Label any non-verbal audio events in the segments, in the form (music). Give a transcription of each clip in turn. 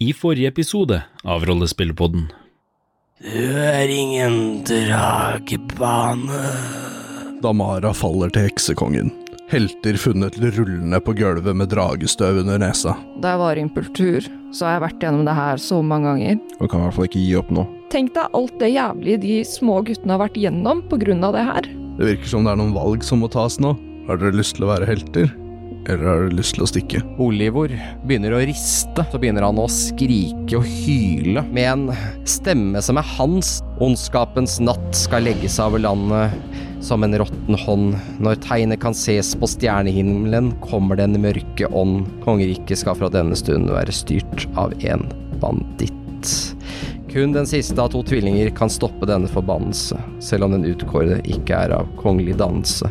i forrige episode av Rollespillpodden. Du er ingen dragebane. Damara faller til heksekongen. Helter funnet rullende på gulvet med dragestøv under nesa. Da jeg var i impultur, så har jeg vært gjennom det her så mange ganger. Og kan i hvert fall ikke gi opp nå. Tenk deg alt det jævlige de små guttene har vært gjennom på grunn av det her. Det virker som det er noen valg som må tas nå. Har dere lyst til å være helter? Eller har dere lyst til å stikke? Olivor begynner å riste. Så begynner han å skrike og hyle med en stemme som er hans. Ondskapens natt skal legge seg over landet som en råtten hånd. Når tegnet kan ses på stjernehimmelen, kommer den mørke ånd. Kongeriket skal fra denne stund være styrt av en banditt. Kun den siste av to tvillinger kan stoppe denne forbannelse, selv om den utkårede ikke er av kongelig dannelse.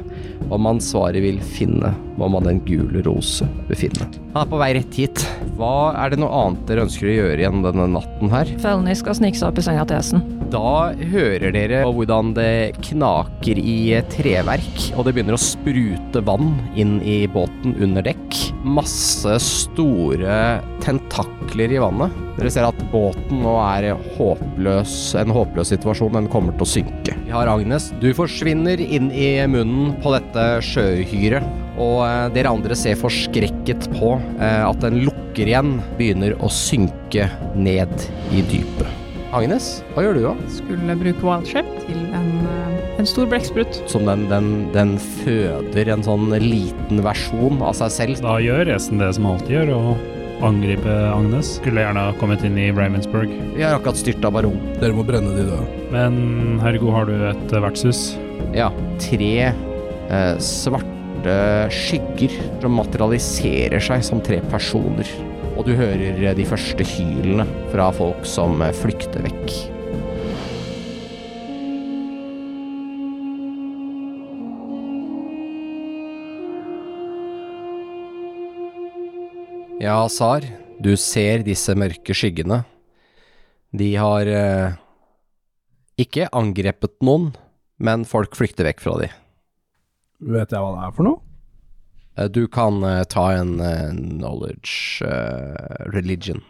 Om man svaret vil finne, må man den gule rose befinne. Han er på vei rett hit. Hva er det noe annet dere ønsker å gjøre igjen denne natten her? Felny skal snike seg opp i senga til hesten. Da hører dere hvordan det knaker i treverk, og det begynner å sprute vann inn i båten under dekk. Masse store tentakler i vannet. Dere ser at båten nå er håpløs, en håpløs situasjon. Den kommer til å synke. Vi har Agnes. Du forsvinner inn i munnen på dette sjøuhyret. Og eh, dere andre ser forskrekket på eh, at den lukker igjen, begynner å synke ned i dypet. Agnes, hva gjør du da? skulle bruke wildshape til en, eh, en stor blekksprut. Som den, den, den føder en sånn liten versjon av seg selv. Da gjør Esen det som han alltid gjør, og angripe Agnes. Skulle gjerne ha kommet inn i Ravensburg. Vi har akkurat styrta baron. Dere må brenne de døde. Men herregud, har du et eh, vertshus? Ja, tre eh, svarte skygger som materialiserer seg som tre personer. Og du hører eh, de første hylene fra folk som eh, flykter vekk. Ja, Sar, du ser disse mørke skyggene. De har eh, ikke angrepet noen, men folk flykter vekk fra de. Vet jeg hva det er for noe? Eh, Du kan eh, ta en eh, knowledge eh, religion.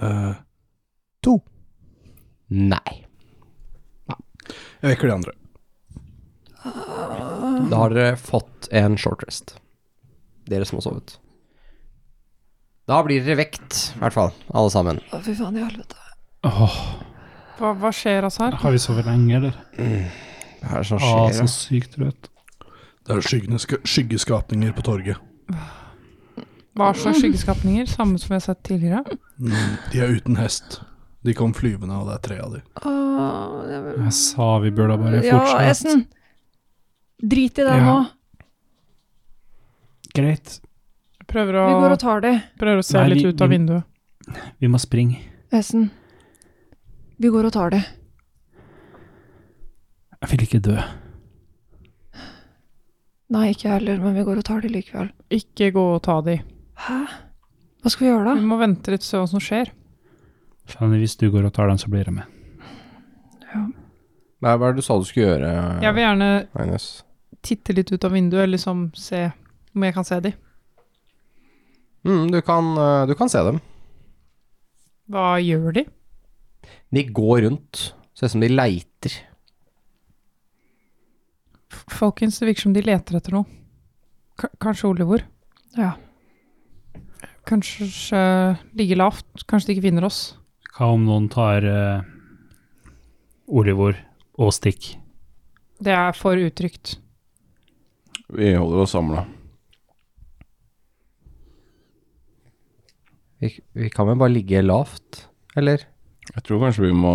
Eh, to. Nei. Jeg vekker de andre. Da har dere fått en short rest. Dere som har sovet. Da blir dere vekt, i hvert fall. Alle sammen. Å, fy faen i helvete. Åh, Hva, hva skjer altså her? har vi sovet lenge, eller? Hva er det som Å, skjer? så sykt trøtt. Det er skyggene, sk- skyggeskapninger på torget. Hva slags skyggeskapninger? Samme som vi har sett tidligere? Mm, de er uten hest. De kom flyvende, og det er tre av de. Å, det er- Jeg sa vi burde da bare Ja, fortsette. hesten! Drit i det Ja. nå. Greit, Prøver å, Vi går og tar de. prøver å se Nei, vi- litt ut av vi- vinduet. vi må springe. Hesten. Vi går og tar de. Jeg vil ikke dø. Nei, ikke jeg heller, men vi går og tar de likevel. Ikke gå og ta de. Hæ? Hva skal vi gjøre Vi da? må vente litt og se hva som skjer. Fanny, hvis du går og tar den, så blir jeg med. Nei, hva er det du sa du skulle gjøre, Jeg vil gjerne Agnes? titte litt ut av vinduet, liksom se om jeg kan se de. Mm, du, kan, eh, du kan se dem. Hva gjør de? De går rundt. Ser ut som de leiter. F- Folkens, det virker som de leter etter noe. K kanskje Olivor? Ja. Kanskje eh, ligge lavt? Kanskje de ikke finner oss? Hva om noen tar eh, Olivor og Stikk? Det er for utrygt. Vi holder oss samla. Vi, vi kan vel bare ligge lavt, eller? Jeg tror kanskje vi må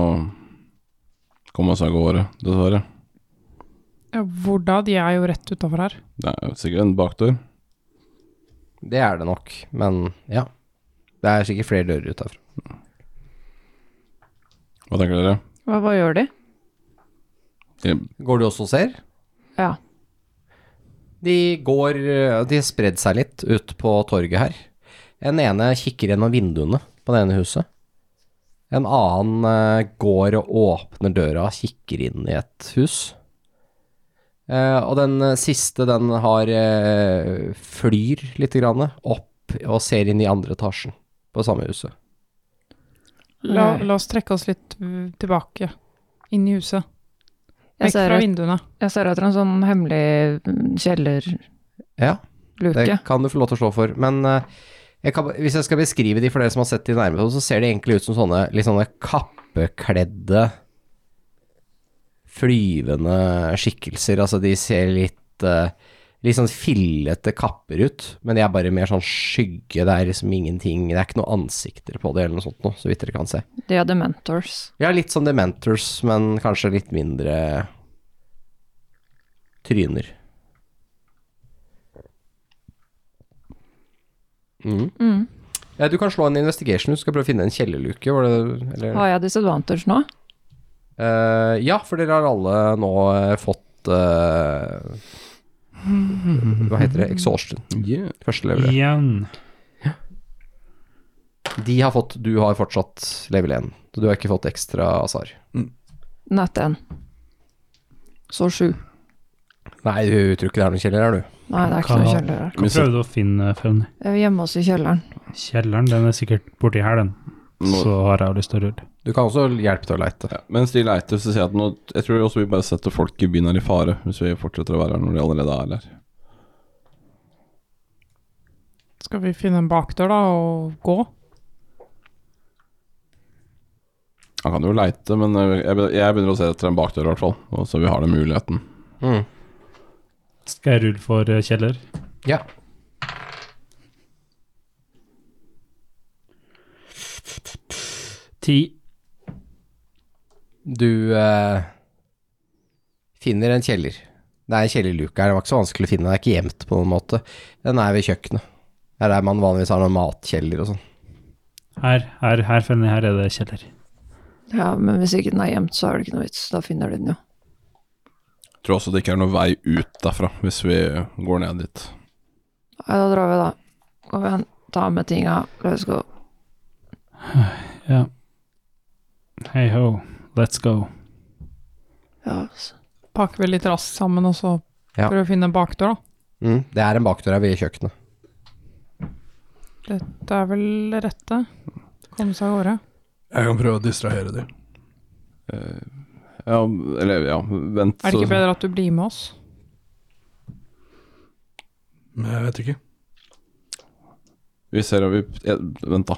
komme oss av gårde, dessverre. Ja, Hvor da? De er jo rett utafor her. Det er jo sikkert en bakdør. Det er det nok, men ja. Det er sikkert flere dører ut herfra. Hva tenker dere? Hva, hva gjør de? Det, Går du også og ser? Ja. De går eh, De har spredd seg litt ut på torget her. Den ene kikker gjennom vinduene på det ene huset. En annen eh, går og åpner døra og kikker inn i et hus. Eh, og den eh, siste, den har eh, flyr litt grann, opp og ser inn i andre etasjen på samme huset. La, la oss trekke oss litt eh, tilbake, inn i huset. Jeg Vekk ser, fra et, vinduene. jeg ser etter en sånn hemmelig mm, kjellerluke. Ja, det kan du få lov til å slå for. Men eh, jeg kan, hvis jeg skal beskrive de for dere som har sett de nærmere, så ser de egentlig ut som sånne litt sånne kappekledde flyvende skikkelser. Altså de ser litt eh, Litt sånn fillete kapper ut, men de er bare mer sånn skygge. Det er liksom ingenting Det er ikke noe ansikter på det eller noe sånt nå, så vidt dere kan se. De hadde mentors. Ja, litt som Dementors, men kanskje litt mindre tryner. Mm. Mm. Ja, du kan slå en investigation, du skal prøve å finne en kjellerluke. Var det, eller, Har jeg disadvantage nå? Eh, ja, for dere har alle nå eh, fått eh, Hva heter det? Exhaustion. Yeah. Første level. Igjen. De har fått, du har fortsatt level 1. Så du har ikke fått ekstra Azar. Nett 1. Så 7. Nei, du tror ikke det er noen kjeller her, du. Nei, det er ikke noe Kan- kjeller her. Kan prøve å finne Fanny. Jeg vil gjemme oss i kjelleren. Kjelleren, den er sikkert borti her, den. Nå- Så har jeg jo lyst til å rulle. Du kan også hjelpe til å leite. Ja, mens de leiter, så sier jeg at nå Jeg tror også vi bare setter folk i byen her i fare, hvis vi fortsetter å være her når de allerede er her. Skal vi finne en bakdør, da, og gå? Han kan jo leite, men eh, jeg be- jeg begynner å se etter en bakdør, i hvert fall. og Så vi har den muligheten. Mm. Skal jeg rulle for eh, kjeller? Ja. Ti. Du eh, finner en kjeller. Det er en kjellerluke her, det var ikke så vanskelig å finne, den er ikke gjemt på noen måte. Den er ved kjøkkenet. Det er der man vanligvis har noen matkjeller og sånn. Her, her, her, Fanny, her er det kjeller. Ja, men hvis ikke den er gjemt, så er det ikke noe vits. Da finner de den jo. Jeg tror også det ikke er noen vei ut derfra, hvis vi går ned dit. Nei, da drar vi, da. Kom igjen. Ta med tinga. Let's go. Hei ho, let's go. Ja, s- Pakker vi litt raskt sammen, og så Ja. prøver vi å finne en bakdør, da. Mm, det er en bakdør her ved kjøkkenet. Det er vel det rette. Komme seg av gårde. Jeg kan prøve å distrahere dem. Ja, eller ja, vent Er det så- ikke bedre at du blir med oss? Men jeg vet ikke. Vi ser og vi eh, Vent, da.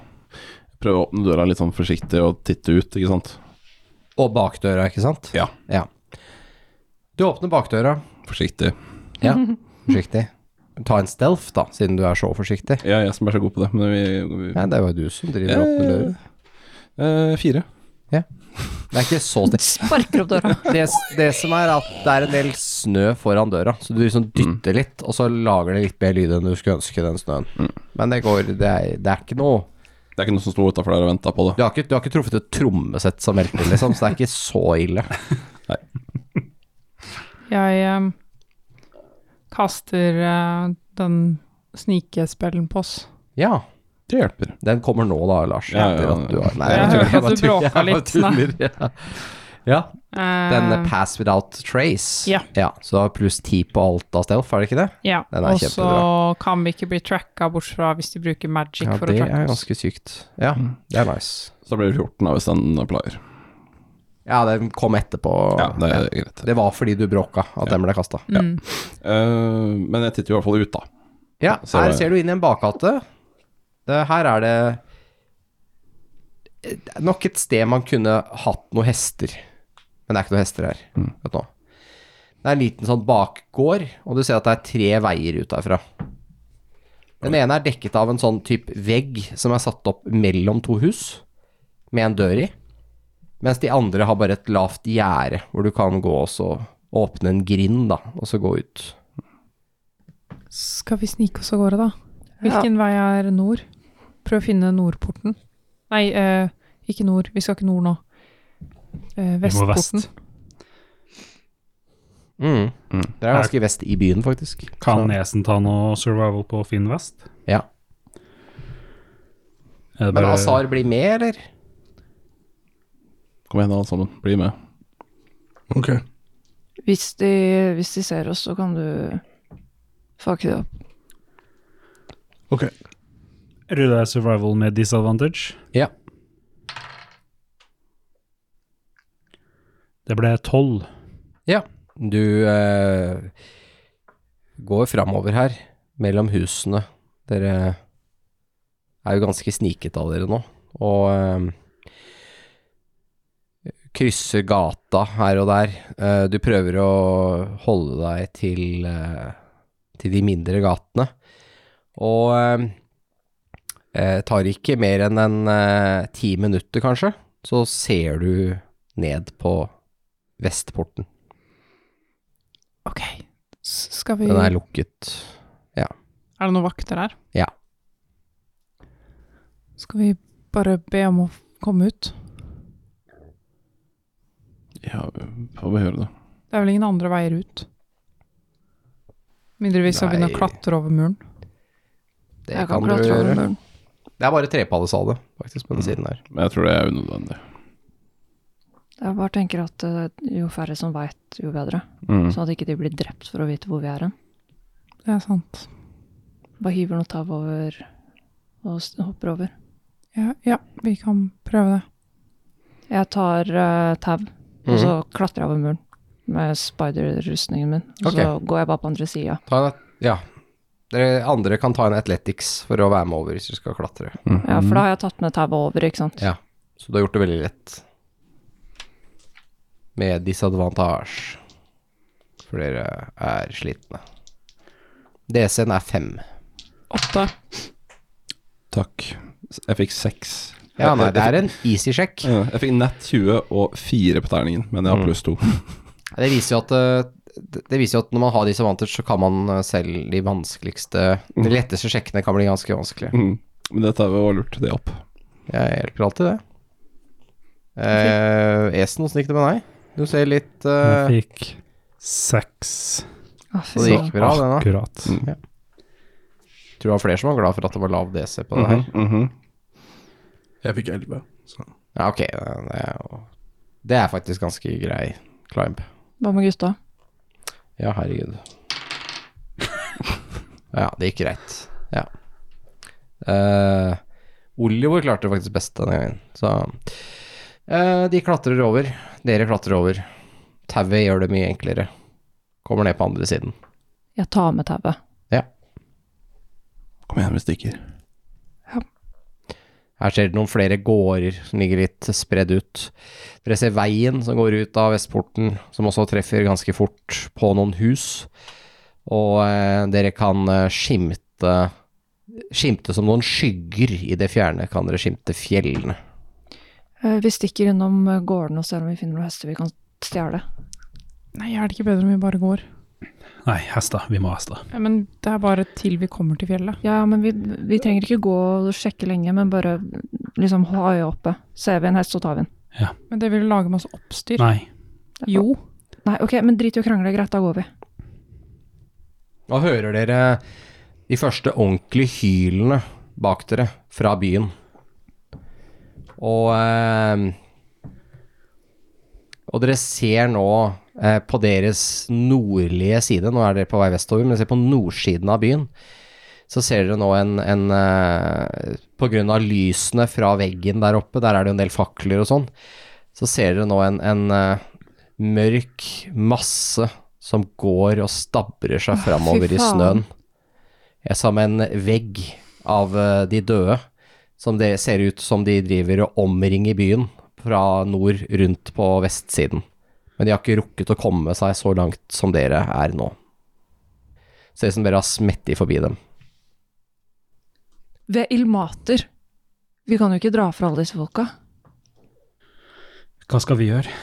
Prøve å åpne døra litt sånn forsiktig og titte ut, ikke sant? Og bakdøra, ikke sant? Ja. Du åpner bakdøra, Forsiktig. forsiktig. Ta en stealth, da, siden du er så forsiktig. Ja, jeg som er så god på det, men vi, vi Ja, det var jo du som driver og åpner dører. eh, Fire. Det er ikke så stealth. Sparker opp døra. Det, det som er at det er en del snø foran døra, så du Mm. liksom dytter litt, og så lager det litt mer lyd enn du skulle ønske den snøen. Mm. Men det går, det er, det er ikke noe Det er ikke noen som sto utafor der og venta på det. Du har ikke, du har ikke truffet et trommesett som velter, liksom, så det er ikke så ille. Jeg eh, kaster eh, den snikespellen på oss. Ja, Det hjelper. den kommer nå da, Lars. Ja, ja, etter at ja. du har- Nei, Jeg (laughs) tuller, hørte at bare du tuller, jeg bråka bare litt, tuller, Ja. ja, Eh, den eh, Pass Without Trace. Ja. så du har pluss ti på alt av stealth, er det ikke det? Ja, Den er og så kjempebra. kan vi ikke bli tracka bort fra hvis de bruker magic Ja, for å det tracke er oss. ganske sykt. Ja, Mm. det er nice. Så da blir det 14 da, hvis den pleier. Ja, den kom etterpå. Ja, det er Ja. greit. Det var fordi du bråka at den ble kasta. Mm. Eh, men jeg titter jo i hvert fall ut, da. Ja, Så her det- ser du inn i en bakgate. Det, her er det det er nok et sted man kunne hatt noen hester. Men det er ikke noen hester her. Mm. Vet du nå. Det er en liten sånn bakgård, og du ser at det er tre veier ut derfra. Den ene er dekket av en sånn type vegg som er satt opp mellom to hus, med en dør i. Mens de andre har bare et lavt gjerde, hvor du kan gå og så åpne en grind, da, og så gå ut. Skal vi snike oss av gårde, da? Hvilken vei er nord? Prøv å finne nordporten. Nei, eh, ikke nord. Vi skal ikke nord nå. Eh, Vi må vestporten. vest. Mm. Mm. Det er ganske vest i byen, faktisk. Kan Så- Nesen ta noe survival på Finn Vest? Sånn. Ja. Er det Men altså- bare- Azar blir med, eller? Kom igjen, alle sammen. Bli med. Ok. (laughs) Hvis de, hvis de ser oss, så kan du fucke det opp. Ok. Rulle er survival med disadvantage. Ja. Det ble tolv. Du eh, går framover her, mellom husene. Dere er jo ganske snikete av dere nå, og eh, krysser gata her og der. Eh, du prøver å holde deg til, eh, til de mindre gatene, og eh, eh, tar ikke mer enn en eh, ti minutter, kanskje, så ser du ned på vestporten. Ok, S skal vi Den er Er lukket. det noen vakter her? Ja. Skal vi bare be om å komme ut? Ja, får vi høre det. Det er vel ingen andre veier ut? Mindre vi skal begynne å Nei. klatre over muren. Det Jeg kan, kan du klatre over gjøre. Mm. muren. Det er bare trepalesade, faktisk, på den siden der. Men jeg tror det er unødvendig. Jeg bare tenker at eh, jo færre som veit, jo bedre. Mm. Sånn at ikke de blir drept for å vite hvor vi er hen. Det er sant. Bare hiver noe tau over og s- hopper over. Ja, ja vi kan prøve det. Jeg tar eh, tau, Mhm. og så klatrer jeg over muren med spider-rustningen min. Og så går jeg bare på andre sida. Ta en, ja. Dere andre kan ta en Athletics for å være med over hvis du skal klatre. (laughs) Ja, for da har jeg tatt med tauet over, ikke sant. Mhm. Ja. Så du har gjort det veldig lett. Med disadvantage. For dere er slitne. DC-en er fem. Åtte. Takk. Jeg fikk seks. Ja, nei, det er en easy sjekk. Ja, Jeg fikk nett 20 og 4 på terningen, men jeg har pluss 2. Det viser jo at eh, det det viser jo at når man har disadvantage, så kan man eh, selv de vanskeligste De letteste sjekkene kan bli ganske vanskelige. (laughs) Men dette var lurt, det opp. Jeg hjelper alltid det. Eh, Esen, åssen gikk det med deg? Du ser litt eh, Jeg fikk seks. Å, Så det gikk bra, det da. Akkurat. Mm. Tror det var flere som var glad for at det var lav DC på det her. Mhm, mhm. Jeg fikk elleve. Ja, ok. Det er, jo- det er faktisk ganske grei climb. Hva med gutta? Ja, herregud. (laughs) ja, det gikk greit. Ja. Eh, Oliver klarte det faktisk best denne gangen, så eh, De klatrer over. Dere klatrer over. Tauet gjør det mye enklere. Kommer ned på andre siden. Jeg tar med tauet. Kom igjen, vi stikker. Her ser dere noen flere gårder som ligger litt spredd ut. Dere ser veien som går ut av Vestporten, som også treffer ganske fort på noen hus. Og eh, dere kan eh, skimte Skimte som noen skygger i det fjerne, kan dere skimte fjellene. Eh, Vi stikker innom eh, gården og ser om vi finner noen hester vi kan stjele. Nei, er det ikke bedre om vi bare går? Nei, hester. Vi må ha hester. Ja, men det er bare til vi kommer til fjellet. Ja, men vi, vi trenger ikke gå og sjekke lenge, men bare liksom ha øya oppe. Ser vi en hest, så tar vi den. Men det vil lage masse oppstyr. Nei. Jo. Nei, ok, men drit i å krangle, greit, da går vi. Da hører dere de første ordentlige hylene bak dere fra byen. Og eh, Og dere ser nå eh, på deres nordlige side, nå er dere på vei vestover, men dere ser på nordsiden av byen, så ser dere nå en, en eh, På grunn av lysene fra veggen der oppe, der er det jo en del fakler og sånn, så ser dere nå en, en eh, mørk masse som går og stabrer seg framover i faen. snøen. Eh, Som en vegg av eh, de døde, som det ser ut som de driver og omringer byen fra nord rundt på vestsiden. Men de har ikke rukket å komme seg så langt som dere er nå. Ser ut som dere har smettet forbi dem. Ved ildmater. Vi kan jo ikke dra fra alle disse folka. Hva skal vi gjøre?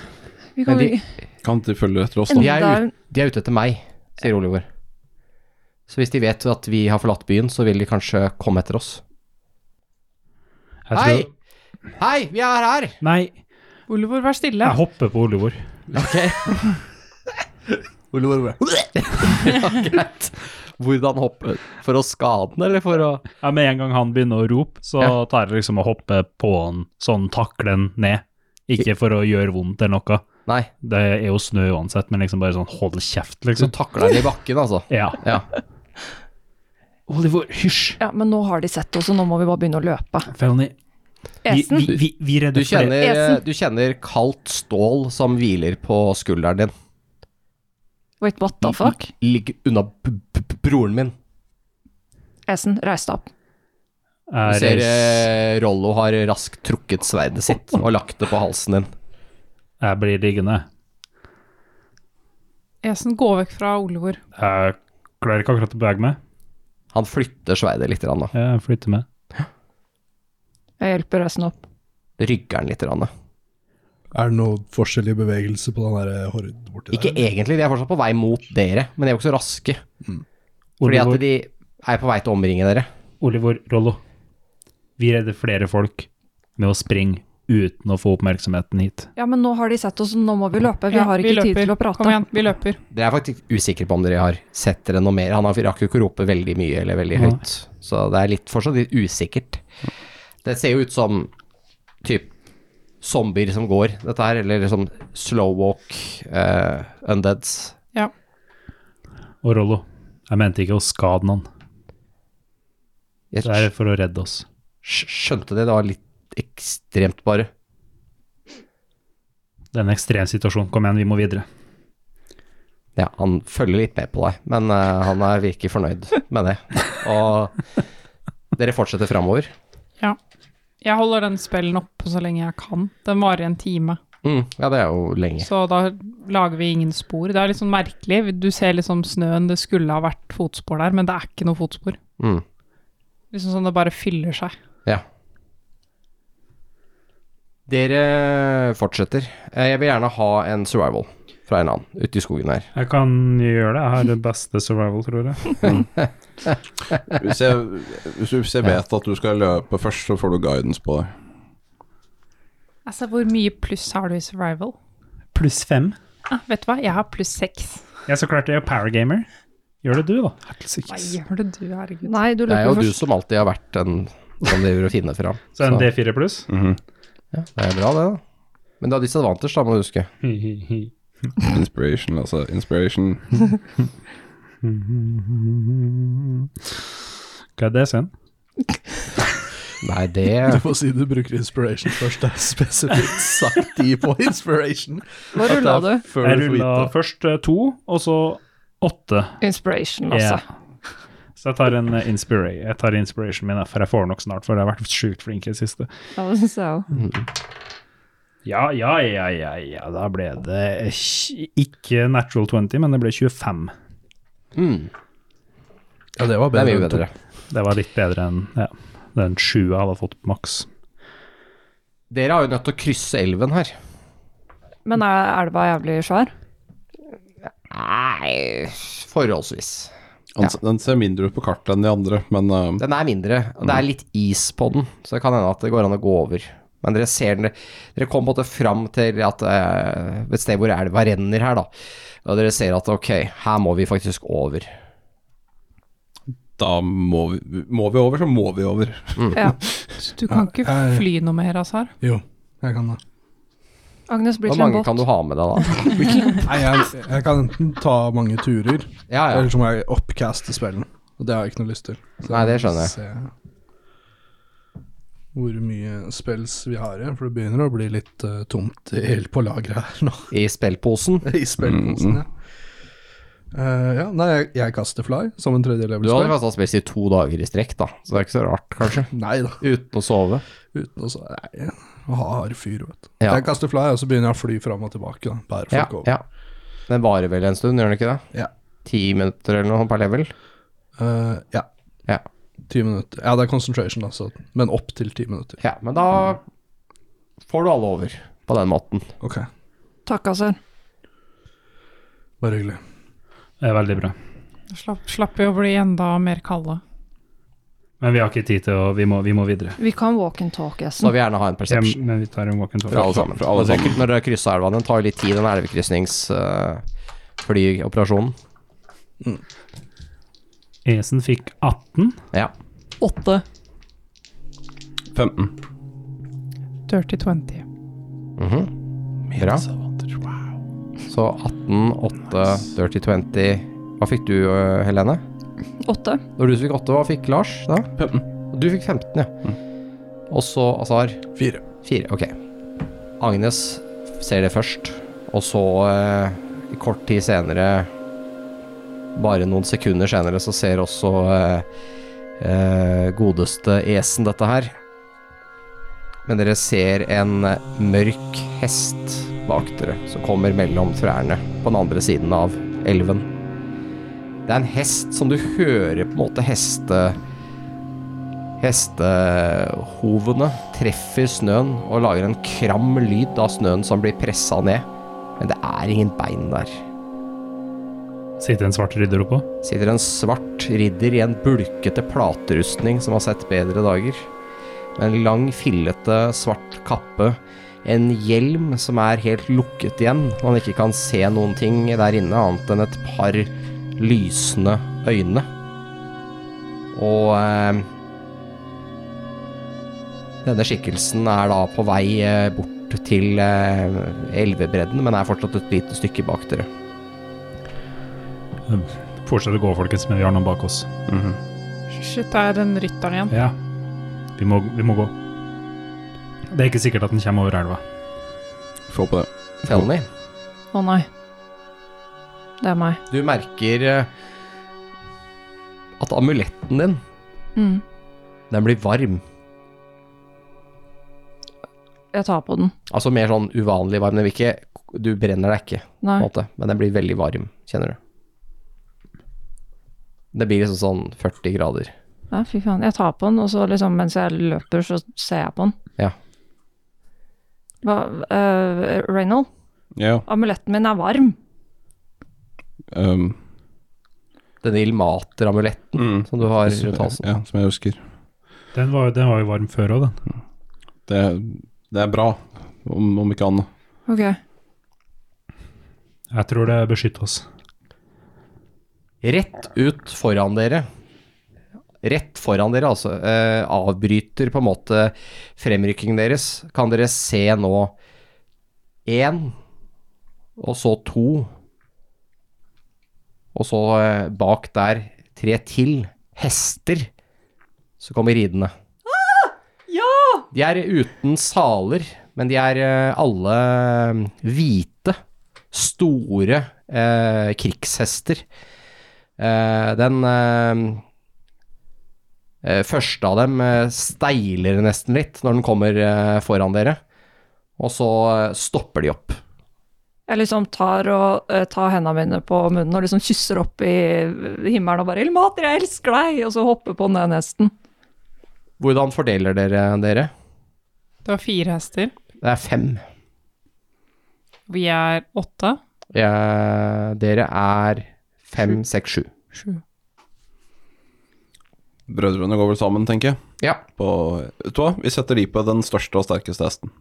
Vi kan Men jo Kan de følge etter oss, da? De enda er, ut, de er ute etter meg, sier Oliver. Så hvis de vet at vi har forlatt byen, så vil de kanskje komme etter oss. Jeg Hei! tror- Hei, vi er her! Nei, Oliver, vær stille. jeg hopper på Olivor. (laughs) Greit. Hvordan hoppe? For å skade den, eller for å Ja, med en gang han begynner å rope, så Ja. tar jeg liksom å hoppe på han, sånn takle han ned. Ikke for å gjøre vondt eller noe. Nei, Det er jo snø uansett, men liksom bare sånn hold kjeft, du liksom. takler den i bakken, altså. Ja. Ja. Oliver, hysj! Ja, men nå har de sett oss, og nå må vi bare begynne å løpe. Felny. Vi, Esen. vi, vi, vi Du redder flere. kjenner, du kjenner kaldt stål som hviler på skulderen din. Wait, what the fuck? Ligg unna b b broren min. Esen, reis deg opp. Du Er, ser eh, Rollo har raskt trukket sverdet sitt og lagt det på halsen din. jeg blir liggende. Esen, gå vekk fra Oliver. Jeg klarer ikke akkurat å bevege meg. Han flytter sverdet litt, grann, da. Jeg flytter med. Jeg hjelper Esen opp. rygger den litt. Grann, da. Er det noe forskjell i bevegelse på den der horden borti Ikke der? egentlig, de er fortsatt på vei mot dere, men de er jo ikke så raske. Mm. Fordi at Oliver, de er på vei til å omringe dere. Oliver, Rollo. Vi redder flere folk med å springe uten å få oppmerksomheten hit. Ja, men nå har de sett oss, og nå må vi løpe. Vi Ja, har ikke tid løper. til å Kom prate. igjen, vi løper. Dere er faktisk usikre på om dere har sett dere noe mer. Han har- rakk jo ikke å rope veldig mye eller veldig høyt, så det er litt, fortsatt litt usikkert. Det ser jo ut som typ zombier som går, dette her, eller liksom slow walk, eh, undeads. Ja. Og Rollo, jeg mente ikke å skade noen. Jeg Det er for å redde oss. skj- skjønte det, det var litt ekstremt bare. Det er en ekstrem situasjon. Kom igjen, vi må videre. Ja, han følger litt med på deg, men eh, han er virker fornøyd med det. Og dere fortsetter framover. Jeg holder den spellen oppe så lenge jeg kan. Den varer en time, Mm, ja, det er jo lenge. så da lager vi ingen spor. Det er litt sånn merkelig. Du ser liksom snøen, det skulle ha vært fotspor der, men det er ikke noe fotspor. Mm, Liksom sånn det bare fyller seg. ja. Dere fortsetter. Eh, Jeg vil gjerne ha en survival fra en annen ute i skogen her. Jeg kan gjøre det. Jeg har det beste survival, tror jeg. Hvis jeg, hvis jeg- hvis jeg vet at du skal løpe først, så får du guidance på det. Altså, hvor mye pluss har du i survival? Pluss fem. Ah, vet du hva, jeg har pluss seks. Jeg så klart jeg er jo power gamer. Gjør det du, da. Hva gjør det du, herregud? Nei, du Det er jo løper du først. som alltid har vært den som driver og finner fram. Så en D4 pluss. Ja, det er bra, det, da. Men det er disadvantage, da, må du huske. Jeg Inspiration, altså. Inspiration. Hva er det sen? Nei, det Du får si du bruker inspiration først. Det er spesifikt sagt de på inspiration. Hva rulla du? Før Jeg du får rulla vite. først eh, to, og så åtte. Inspiration, altså. Ja. Så jeg tar en eh, inspira jeg tar inspiration min, eh, for jeg får nok snart, for jeg har vært sjukt flink i det siste. Ja, det synes jeg også. Ja, ja, ja, ja, ja, da ble det ikke- ikke natural 20, men det ble 25. mm, Ja, det var Det bedre. er mye enn to. bedre. Det var litt bedre enn ja, den sjua jeg hadde fått på maks. Dere har jo nødt til å krysse elven her. Men er elva jævlig svær? Nei, forholdsvis. Han, Den ser mindre ut på kartet enn de andre, men eh, Den er mindre, og det er litt is på den, så det kan hende at det går an å gå over. Men dere ser den Dere kom på en måte fram til at eh, et sted hvor elva renner her, da. Og dere ser at ok, her må vi faktisk over. da må vi, må vi over, så må vi over. Så Du kan ikke jeg- fly noe mer, Azar. Jo, jeg kan det. Agnes blir Hvor til en mange kan båt. du ha med deg, (laughs) da? Nei, jeg, jeg kan enten ta mange turer, Ja, ja. eller så må jeg oppcaste spillen. Og det har jeg ikke noe lyst til. Så Nei, det skjønner jeg. Se hvor mye spills vi har igjen, for det begynner å bli litt eh, tomt i- helt på lageret her nå. I spillposen. I spillposen, ja. Eh, ja, nei, jeg, jeg kaster fly som en tredje Du hadde level-spill. kasta spiss i to dager i strekk, da, så det er ikke så rart, kanskje. Nei da, Uten å sove. uten å så Nei, jeg har fyr, vet du. Ja. Jeg kaster fly, og så begynner jeg å fly fram og tilbake. Da. Bare Ja, folk over. ja. Den varer vel en stund, gjør den ikke det? Ja. Ti minutter eller noe per level? Eh, ja. Ja. Ti minutter. Ja, det er concentration, da, så- men opp til ti minutter. Ja, men da får du alle over på den måten. Ok, Takk, altså. Azar. bare hyggelig. Det er veldig bra. Slapp, slapp jo å bli enda mer kalde. Men vi har ikke tid til å Vi må, vi må videre. Vi kan walk and talk, Esen. Så vil jeg gjerne ha en perception. Jeg, men vi tar en walk and Fra talk. alle sammen. Fra alle Det er sikkert Når dere krysser elva, den tar jo litt tid, den eh, elvekrysningsflyoperasjonen. Esen fikk 18. ja. Åtte. 15. Dirty 20. Mhm. Bra. Så 18, 8, dirty 20. Hva fikk du, eh, Helene? Åtte. Det var du som fikk 8. Hva fikk Lars da? 15. Du fikk 15, ja. Og så Azar. Fire. Fire, ok. Agnes ser det først, og så eh, i kort tid senere, bare noen sekunder senere, så ser også eh, eh, godeste Esen dette her. Men dere ser en mørk hest bak dere, som kommer mellom trærne på den andre siden av elven. Det er en hest som du hører på en måte heste... Hestehovene treffer snøen og lager en kram lyd av snøen som blir pressa ned. Men det er ingen bein der. Sitter en svart rydder oppå? Sitter en svart ridder i en bulkete platerustning som har sett bedre dager. Med en lang, fillete, svart kappe. En hjelm som er helt lukket igjen. og Man ikke kan se noen ting der inne annet enn et par lysende øyne. Og eh, Denne skikkelsen er da på vei eh, bort til eh, elvebredden, men er fortsatt et lite stykke bak dere. Fortsett å gå, folkens, men vi har noen bak oss. Shit, det er den rytteren igjen. Ja. Vi må, vi må gå. Det er ikke sikkert at den kommer over elva. (laughs) Få på det. Felny? Å nei. Det er meg. Du merker eh, at amuletten din, Mm. den blir varm. Jeg tar på den. Altså mer sånn uvanlig varm. Den vil ikke Du brenner deg ikke, på Nei. en måte, men den blir veldig varm, kjenner du. Det blir liksom sånn 40 grader. Ja, fy faen. Jeg tar på den, og så liksom mens jeg løper, så ser jeg på den. Ja. Hva, eh, Reynold, Ja, amuletten min er varm. um, Denne ilmater-amuletten mm, som du har rundt halsen. ja, som jeg husker. Den var, den var jo varm før òg, den. Det, det er bra, om, om ikke annet. Ok. Jeg tror det beskytter oss. Rett ut foran dere. Rett foran dere, altså. Eh, avbryter på en måte fremrykkingen deres. Kan dere se nå én, og så to, og så eh, bak der tre til hester som kommer ridende. De er uten saler, men de er eh, alle eh, hvite. Store eh, krigshester. Eh, den eh, eh, første av dem eh, steiler nesten litt når den kommer eh, foran dere, og så eh, stopper de opp. Jeg liksom tar, og, eh, tar hendene mine på munnen og liksom kysser opp i himmelen og bare 'Ilmater, jeg elsker deg!' Og så hopper på den hesten. Hvordan fordeler dere dere? Det var fire hester. Det er fem. Vi er åtte. Eh, dere er fem, seks, sju. Sju. Brødrene går vel sammen, tenker jeg. Ja, På, vet du hva, vi setter de på den største og sterkeste hesten.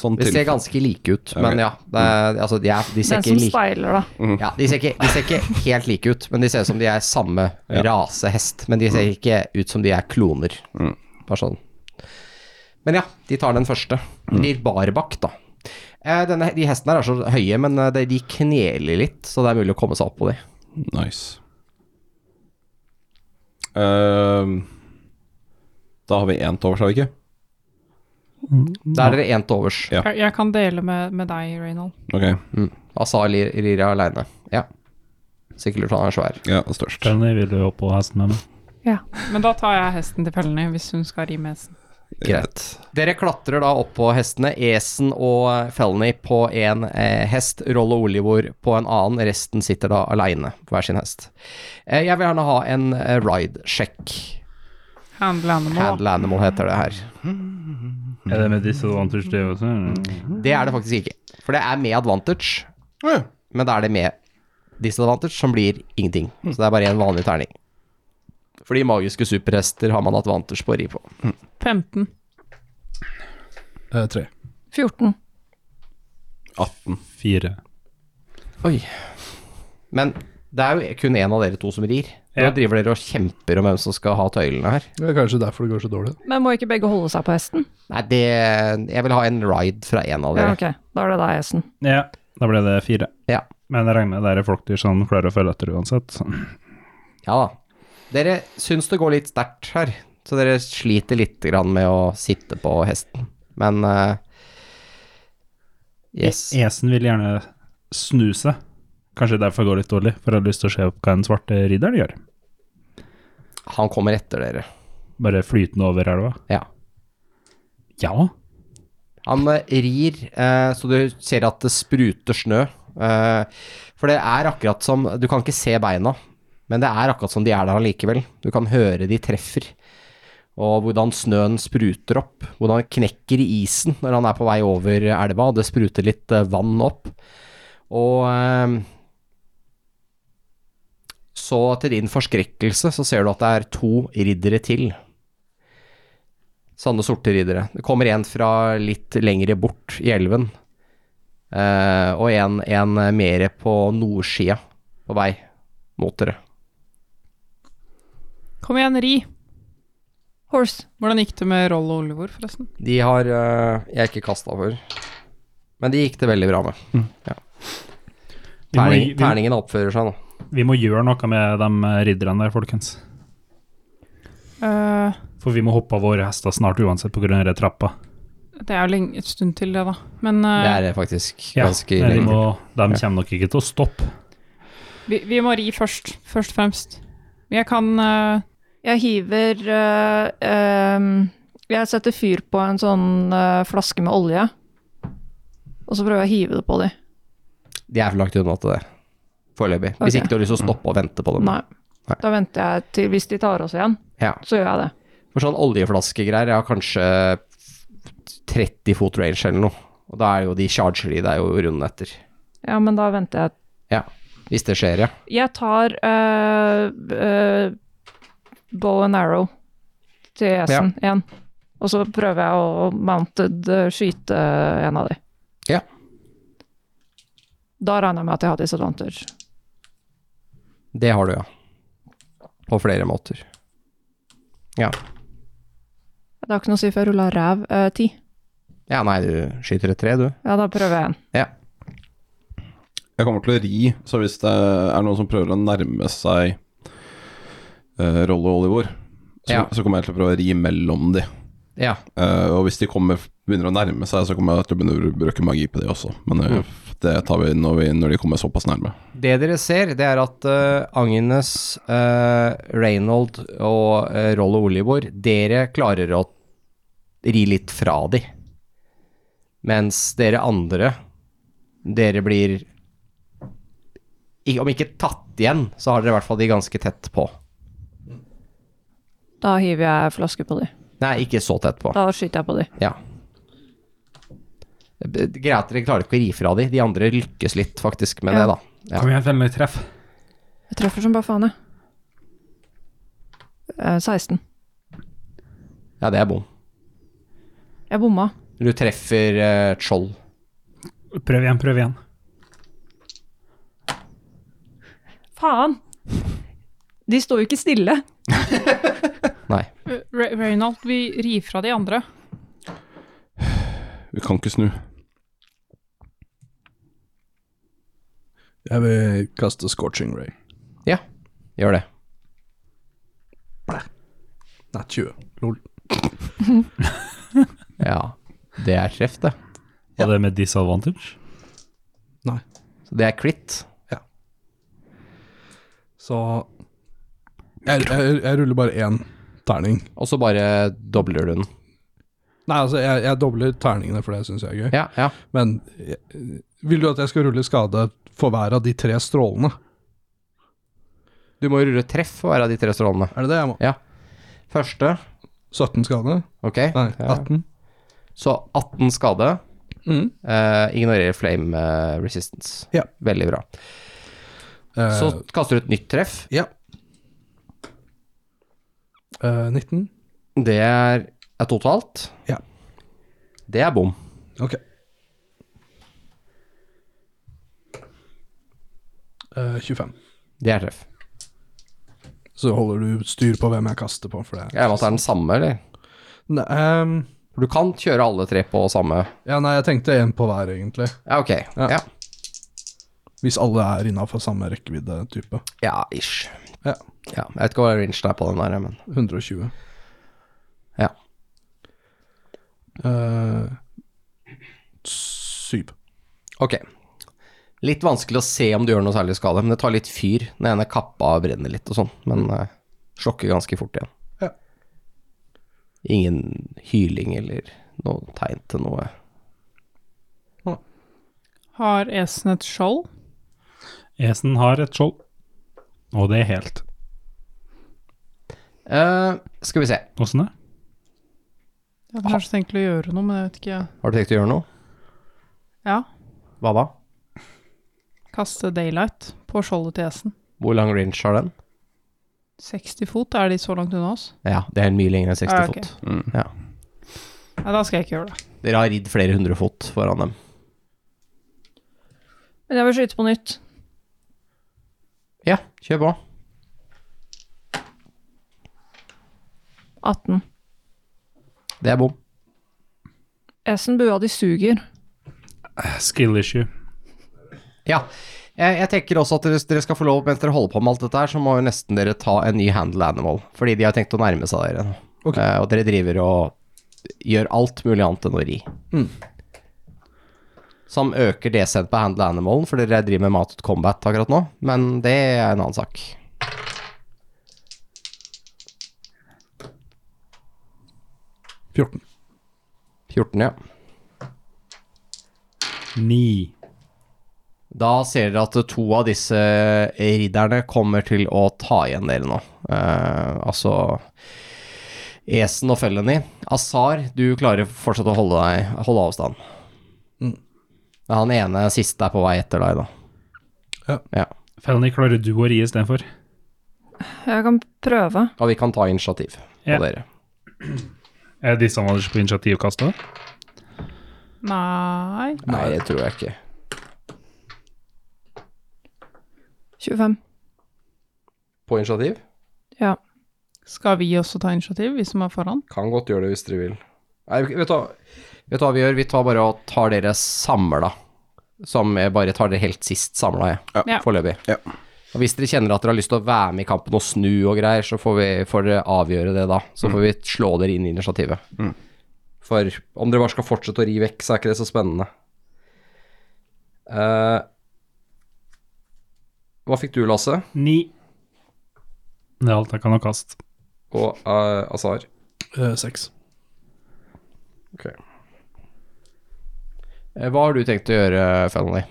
Sånn de til. ser ganske like ut, Ok. men ja. Det er, altså, de, er, de ser Den ikke som like steiler, da. (laughs) Ja, de ser, ikke, de ser ikke helt like ut, men de ser ut som de er samme rase hest. Men de ser ikke ut som de er kloner. Mm. Bare sånn. Men ja, de tar den første. De Mm. blir barbakt, da. Eh, Denne, de hestene her er så høye, men eh, de- de kneler litt, så det er mulig å komme seg opp på de. Nice. Ehm, da har vi én til overs, har vi ikke? Da er dere én til overs. Ja. Jeg, jeg kan dele med, med deg, Reynold. Ok, Azar lir- rir aleine. Ja. Sikkert han er svær. ja, størst. Felny vil jo opp på hesten med meg. Men da tar jeg hesten til Felny, hvis hun skal ri med hesten. Greit. Dere klatrer da opp på hestene, Esen og eh, Felny på en eh, hest, Roll og Olivor på en annen, resten sitter da aleine på hver sin hest. Eh, jeg vil gjerne ha en eh, ride-sjekk. Handle animal. Handle animal heter det her. Mm. Er det med disadvantage, det også? Det er det faktisk ikke, for det er med advantage, Ja. men da er det med disadvantage som blir ingenting. Så det er bare en vanlig terning. Fordi magiske superhester har man advantage på å ri på. 15. Eh, tre. 14. 18. Mm. Fire. Men det er jo kun én av dere to som rir. Nå Ja. driver dere og kjemper om hvem som skal ha tøylene her. Det er kanskje derfor det går så dårlig. Men må ikke begge holde seg på hesten? Nei, det Jeg vil ha en ride fra en av Ja, dere. ok. Da er det deg, hesten. Ja, da ble det fire. Men jeg regner med det er flokkdyr som klarer å følge etter uansett. Ja da. Dere syns det går litt sterkt her, så dere sliter litt grann med å sitte på hesten. Men eh, Yes. E- Esen vil gjerne snu seg. Kanskje derfor går det litt dårlig, for jeg har lyst til å se hva den svarte ridderen gjør. Han kommer etter dere. Bare flytende over elva. Ja. Ja, Han eh, rir, eh, så du ser at det spruter snø. eh, For det er akkurat som Du kan ikke se beina, men det er akkurat som de er der allikevel. Du kan høre de treffer, og hvordan snøen spruter opp. Hvordan det knekker i isen når han er på vei over elva, og det spruter litt eh, vann opp. Og eh, så til din forskrekkelse så ser du at det er to riddere til Sanne sorte riddere. Det kommer en fra litt lengre bort i elven. eh, og en, en mer på nordsida, på vei mot dere. Kom igjen, ri. Horse. Hvordan gikk det med Roll og Olivor, forresten? De har eh, jeg ikke kasta for, men de gikk det veldig bra med. Ja. Vi Mm. må- Terning, vi- terningen oppfører seg nå. vi må gjøre noe med de eh, ridderne der, folkens. Eh, For vi må hoppe av våre hester snart uansett på grunn av den trappa. det er jo lenge, et stund til det, da. Men eh, Det er det faktisk Ja, ganske men vi lenge. må, de kommer nok ikke til å stoppe. vi, vi må ri først, først og fremst. Jeg kan eh, Jeg hiver øh, øhm, Jeg setter fyr på en sånn øh, flaske med olje. Og så prøver jeg å hive det på dem. De er for langt unna til det foreløpig. Hvis Ok. ikke du har lyst til å stoppe og vente på dem. Nei. Da venter jeg til hvis de tar oss igjen. Ja. Så gjør jeg det. For sånn oljeflaskegreier er kanskje 30 fot range eller noe. Og da er jo de charger de deg jo runden etter. Ja, men da venter jeg. Ja, hvis det skjer, ja. Jeg tar øh, øh, bow and arrow til esen igjen. Og så prøver jeg å mounted øh, skyte en av de. Ja. Da regner jeg med at jeg har disadvantage. Det har du, ja. På flere måter. Ja. Det har ikke noe å si for jeg rulla ræv øh, ti. Ja, nei, du skyter et tre, du. Ja, da prøver jeg en. Ja. Jeg kommer til å ri, så hvis det er noen som prøver å nærme seg eh, Rollo og Olivor, så, Ja. så kommer jeg til å prøve å ri mellom de. Ja. Eh, og hvis de kommer, begynner å nærme seg, så kommer jeg til å begynne å bruke magi på de også. Men eh, det tar vi når, vi når de kommer såpass nærme. Det dere ser, det er at eh, Agnes, eh, Reynold og eh, Rollo Olivor, dere klarer å ri litt fra de. Mens dere andre, dere blir i- Om ikke tatt igjen, så har dere i hvert fall de ganske tett på. Da hiver jeg flaske på de. Nei, ikke så tett på. Da skyter jeg på de. Ja. B- Greit, dere klarer ikke å ri fra de. De andre lykkes litt faktisk med Ja. det, da. Ja. Kom igjen, fell meg treff. Jeg treffer som bare faen, jeg. Eh, 16. ja, det er bom. Jeg bomma. Du treffer eh, Troll. Prøv igjen, prøv igjen. Faen! De står jo ikke stille. Nei. Re Reynold, vi rir fra de andre. Vi kan ikke snu. Jeg vil kaste scorching ray. Ja, gjør det. Nei, 20. Lol. Ja, det er treff, det. Og det med disadvantage? Nei. Så det er crit. Så jeg, jeg, jeg ruller bare én terning. Og så bare dobler du den. Nei, altså, jeg, jeg dobler terningene, for det syns jeg er gøy. Ja, ja. Men eh, vil du at jeg skal rulle skade for hver av de tre strålene? Du må rulle treff for hver av de tre strålene. Er det det jeg må? Første, 17 skade? ok. Nei, Ja. 18. Så 18 skade. Mm. Eh, ignorerer flame eh, resistance. Ja. Veldig bra. Eh, Så kaster du et nytt treff. Ja. Eh, 19. Det er, er totalt. Ja. Det er bom. Ok. Eh, 25. Det er treff. Så holder du styr på hvem jeg kaster på, for det Jeg vet at det altså, er den samme, eller? Nei, ehm, For du kan kjøre alle tre på samme Ja, nei, jeg tenkte én på hver, egentlig. Ja, ok. Ja. Ja. Hvis alle er innafor samme rekkevidde type. Ja, ish. Ja. Ja, jeg vet ikke hva range det er på den der, men 120. Ja. Eh, syv. Ok. Litt vanskelig å se om du gjør noe særlig skade, men det tar litt fyr. Den ene kappa brenner litt og sånn, men eh, slokker ganske fort igjen. Ja. Ingen hyling eller noe tegn til noe. Har esen et skjold? Esen har et skjold, og det er helt. Eh, skal vi se. Åssen det? Jeg har kanskje tenkt å gjøre noe, men jeg vet ikke. Har du tenkt å gjøre noe? Ja, Hva da? kaste daylight på skjoldet til esen. Hvor lang range har den? 60 fot, er de så langt unna oss? Ja, det er mye lenger enn 60 Ah, ok. fot. Mm. Nei, da skal jeg ikke gjøre det. Dere har ridd flere hundre fot foran dem. Men jeg vil skyte på nytt. Ja, kjør på. 18. Det er bom. Esen bua de suger. Skill issue. Ja. Jeg, jeg tenker også at dere, dere skal få lov, mens dere holder på med alt dette her, så må jo nesten dere ta en ny handle animal, fordi de har tenkt å nærme seg dere nå. Eh, og dere driver og gjør alt mulig annet enn å ri. Som øker DC-en på handle animalen, for dere driver med matet combat akkurat nå, men det er en annen sak. Fjorten. 14, ja. Ni. Da ser dere at to av disse ridderne kommer til å ta igjen dere nå. Eh, altså Esen og Felony. Azar, du klarer fortsatt å holde, deg, holde avstand. Mm. Men Han ene siste er på vei etter deg, da. Ja. Felony, klarer du å ri istedenfor? Jeg kan prøve. Og vi kan ta initiativ på Ja. dere. Er det disadvantage på initiativkastet? Nei Nei, det tror jeg ikke. 25. På initiativ? Ja. Skal vi også ta initiativ, vi som er foran? Kan godt gjøre det hvis dere vil. Nei, vet du, hva- vet du hva vi gjør? Vi tar bare og tar dere samla. Som jeg bare tar dere helt sist samla, jeg. Ja. Foreløpig. Ja. Og hvis dere kjenner at dere har lyst til å være med i kampen og snu og greier, så får, vi, får dere avgjøre det da. Så får vi slå dere inn i initiativet. For om dere bare skal fortsette å ri vekk, så er ikke det så spennende. Eh, hva fikk du, Lasse? Ni. Det er alt jeg kan ha kast. Og uh, Azar? Eh, seks. Eh, hva har du tenkt å gjøre, Fennelly?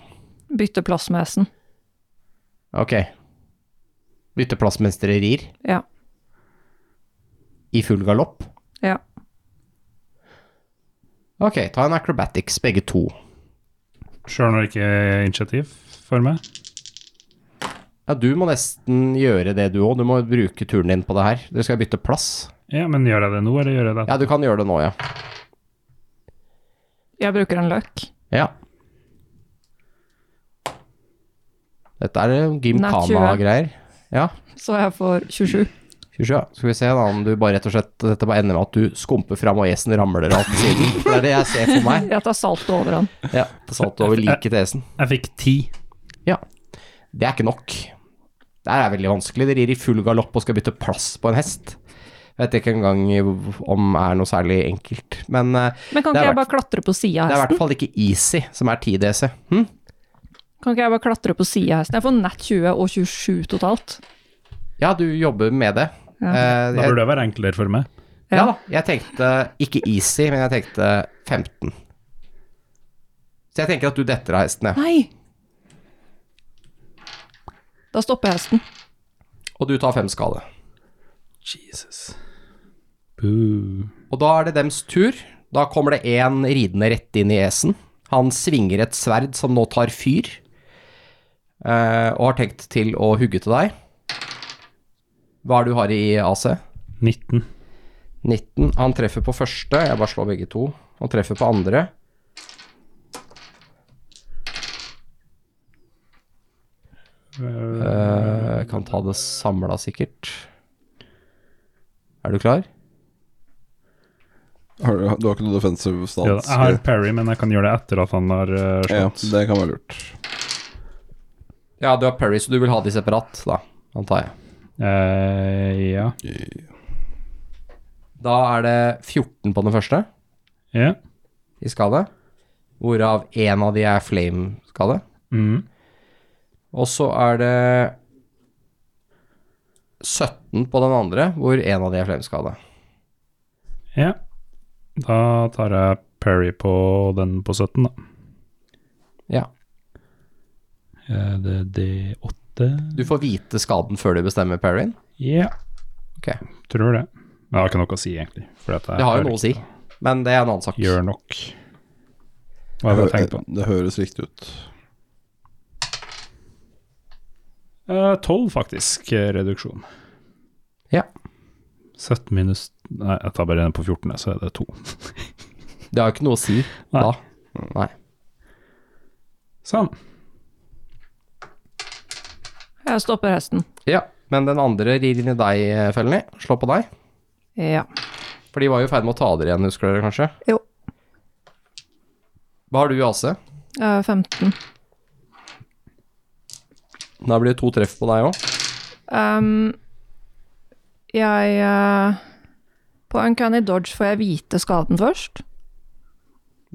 Bytte plass med esen. Ok. Bytte plass mens dere rir? Ja. I full galopp? Ja. Ok, ta en acrobatics, begge to. Sjøl når det ikke er initiativ for meg. Ja, du må nesten gjøre det du òg. Du må bruke turen din på det her. Du skal bytte plass. Ja, men gjør jeg det nå, eller gjør jeg det Ja, du kan gjøre det nå, ja. Jeg bruker en løk. Ja. Dette er gymkana-greier. Ja. Så jeg får 27. 27, ja. Skal vi se da om du bare rett og slett Dette bare ender med at du skumper fram og esen ramler av til siden. For det er det jeg ser for meg. Jeg tar saltet over han. (laughs) Ja, Det satt over liket til esen. Jeg fikk ti. Ja. Det er ikke nok. Det her er veldig vanskelig. De rir i full galopp og skal bytte plass på en hest. Vet ikke engang om det er noe særlig enkelt. Men eh, Men kan ikke Det er jeg verdt- bare klatre på sida av det er i hesten? hvert fall ikke easy som er 10 DC. Hm? Kan ikke jeg bare klatre på sida av hesten? Jeg får nett 20 og 27 totalt. Ja, du jobber med det. Ja. Eh, Da jeg, burde det være enklere for meg. ja da. Jeg tenkte ikke easy, men jeg tenkte 15. Så jeg tenker at du detter av hesten, ja. Nei! Da stopper jeg hesten. Og du tar fem skade. Jesus. Boo. Og da er det dems tur. Da kommer det en ridende rett inn i esen. Han svinger et sverd som nå tar fyr, eh, og har tenkt til å hugge til deg. Hva er det du har i AC? 19. 19. Han treffer på første. Jeg bare slår begge to. Han treffer på andre. Eh, kan ta det samla, sikkert. Er du klar? Har du, du har ikke noe defensive Ja, stans? jeg har Parry, men jeg kan gjøre det etter at han har eh, ja, slått. det kan være lurt. Ja, du har Perry, så du vil ha de separat, da, antar jeg. Eh, ja. Da er det 14 på den første ja. i skade, hvorav én av de er flame-skade. Mm. Og så er det 17 på den andre, hvor én av de er flameskade. ja. Da tar jeg Parry på den på 17, da. Ja. Eh, Det er D8 Du får vite skaden før du bestemmer Perrin. Ja. Ok. Tror det. Men jeg har ikke noe å si, egentlig. For dette Det har jo noe å si, men det er en annen sak. Gjør nok. Hva hadde jeg tenkt på? det høres riktig ut. Eh, Tolv, faktisk, eh, reduksjon. Ja. 17 minus Nei, jeg tar bare en på 14, så er det to. Det har jo ikke noe å si da. Nei. Sånn. Jeg stopper hesten. Ja, men den andre rir inn i deg, Felny. Slå på deg. Ja. For de var jo i ferd med å ta dere igjen, husker dere kanskje? Jo. Hva har du i AC? Eh, 15. Da blir det to treff på deg òg. Ehm, jeg eh, På Uncanny Dodge får jeg vite skaden først.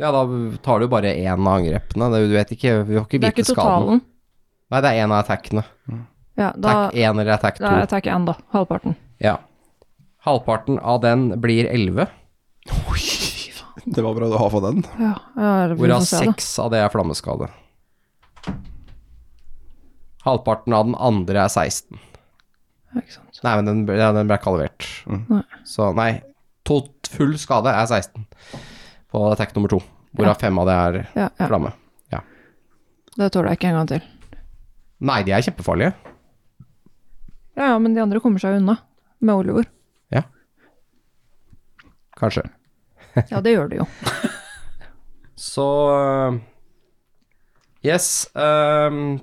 Ja, da tar du bare én av angrepene. Det, du vet ikke, vi har ikke Det er vite ikke skaden. totalen. Nei, det er én av attackene. Ja, da, Attack 1 eller attack 2. da er attack 1, da. Halvparten. Ja. Halvparten av den blir 11, Det var bra du har for den. Ja, ja, vi hvorav får se, da. 6 av det er flammeskade. Halvparten av den andre er 16. Ja, Ikke sant. Nei, men den, ble- ja, den ble ikke halvert. Nei. Så nei, to, full skade er 16 på attack nummer 2, hvorav 5 av det er Ja, ja. flamme. Det tåler jeg ikke en gang til. Nei, de er kjempefarlige. Ja, ja, men de andre kommer seg unna. Med Oliver. Kanskje. Ja, det gjør de jo. Så øh, Yes. øhm,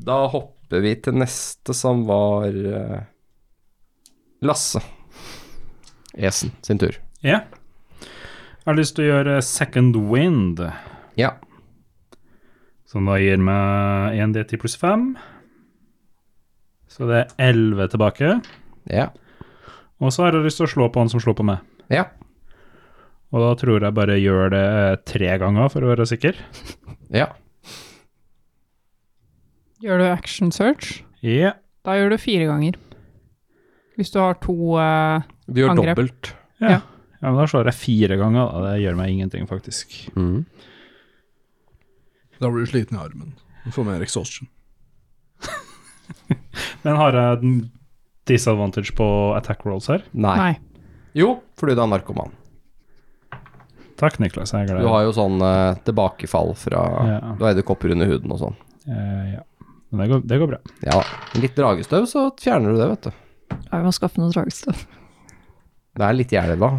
da hopper vi til neste, som var øh, Lasse. Esen sin tur. Ja. Jeg har lyst til å gjøre second wind, Ja. som da gir meg 1D10 pluss 5. Så det er 11 tilbake. Ja. Og så har jeg lyst til å slå på han som slo på meg. ja. Og da tror jeg bare gjør det eh, tre ganger, for å være sikker. ja. Gjør du action search? Ja. Da gjør du fire ganger. Hvis du har to eh, Du gjør Angrep. dobbelt. Ja. Ja. ja. men da slår jeg fire ganger, da. Det gjør meg ingenting, faktisk. Da blir du sliten i armen. Du får mer exhaustion. Men har jeg den- disadvantage på attack rolls her? Nei. Nei. Jo, fordi du er narkoman. Takk, Niklas. Jeg er glad. Du har jo sånn øh, tilbakefall fra Ja. Du har edderkopper under huden og sånn. Eh, ja. Men det går, det går bra. Ja da. Litt dragestøv, så fjerner du det, vet du. Ja, vi må skaffe noe dragestøv. Det er litt i elva.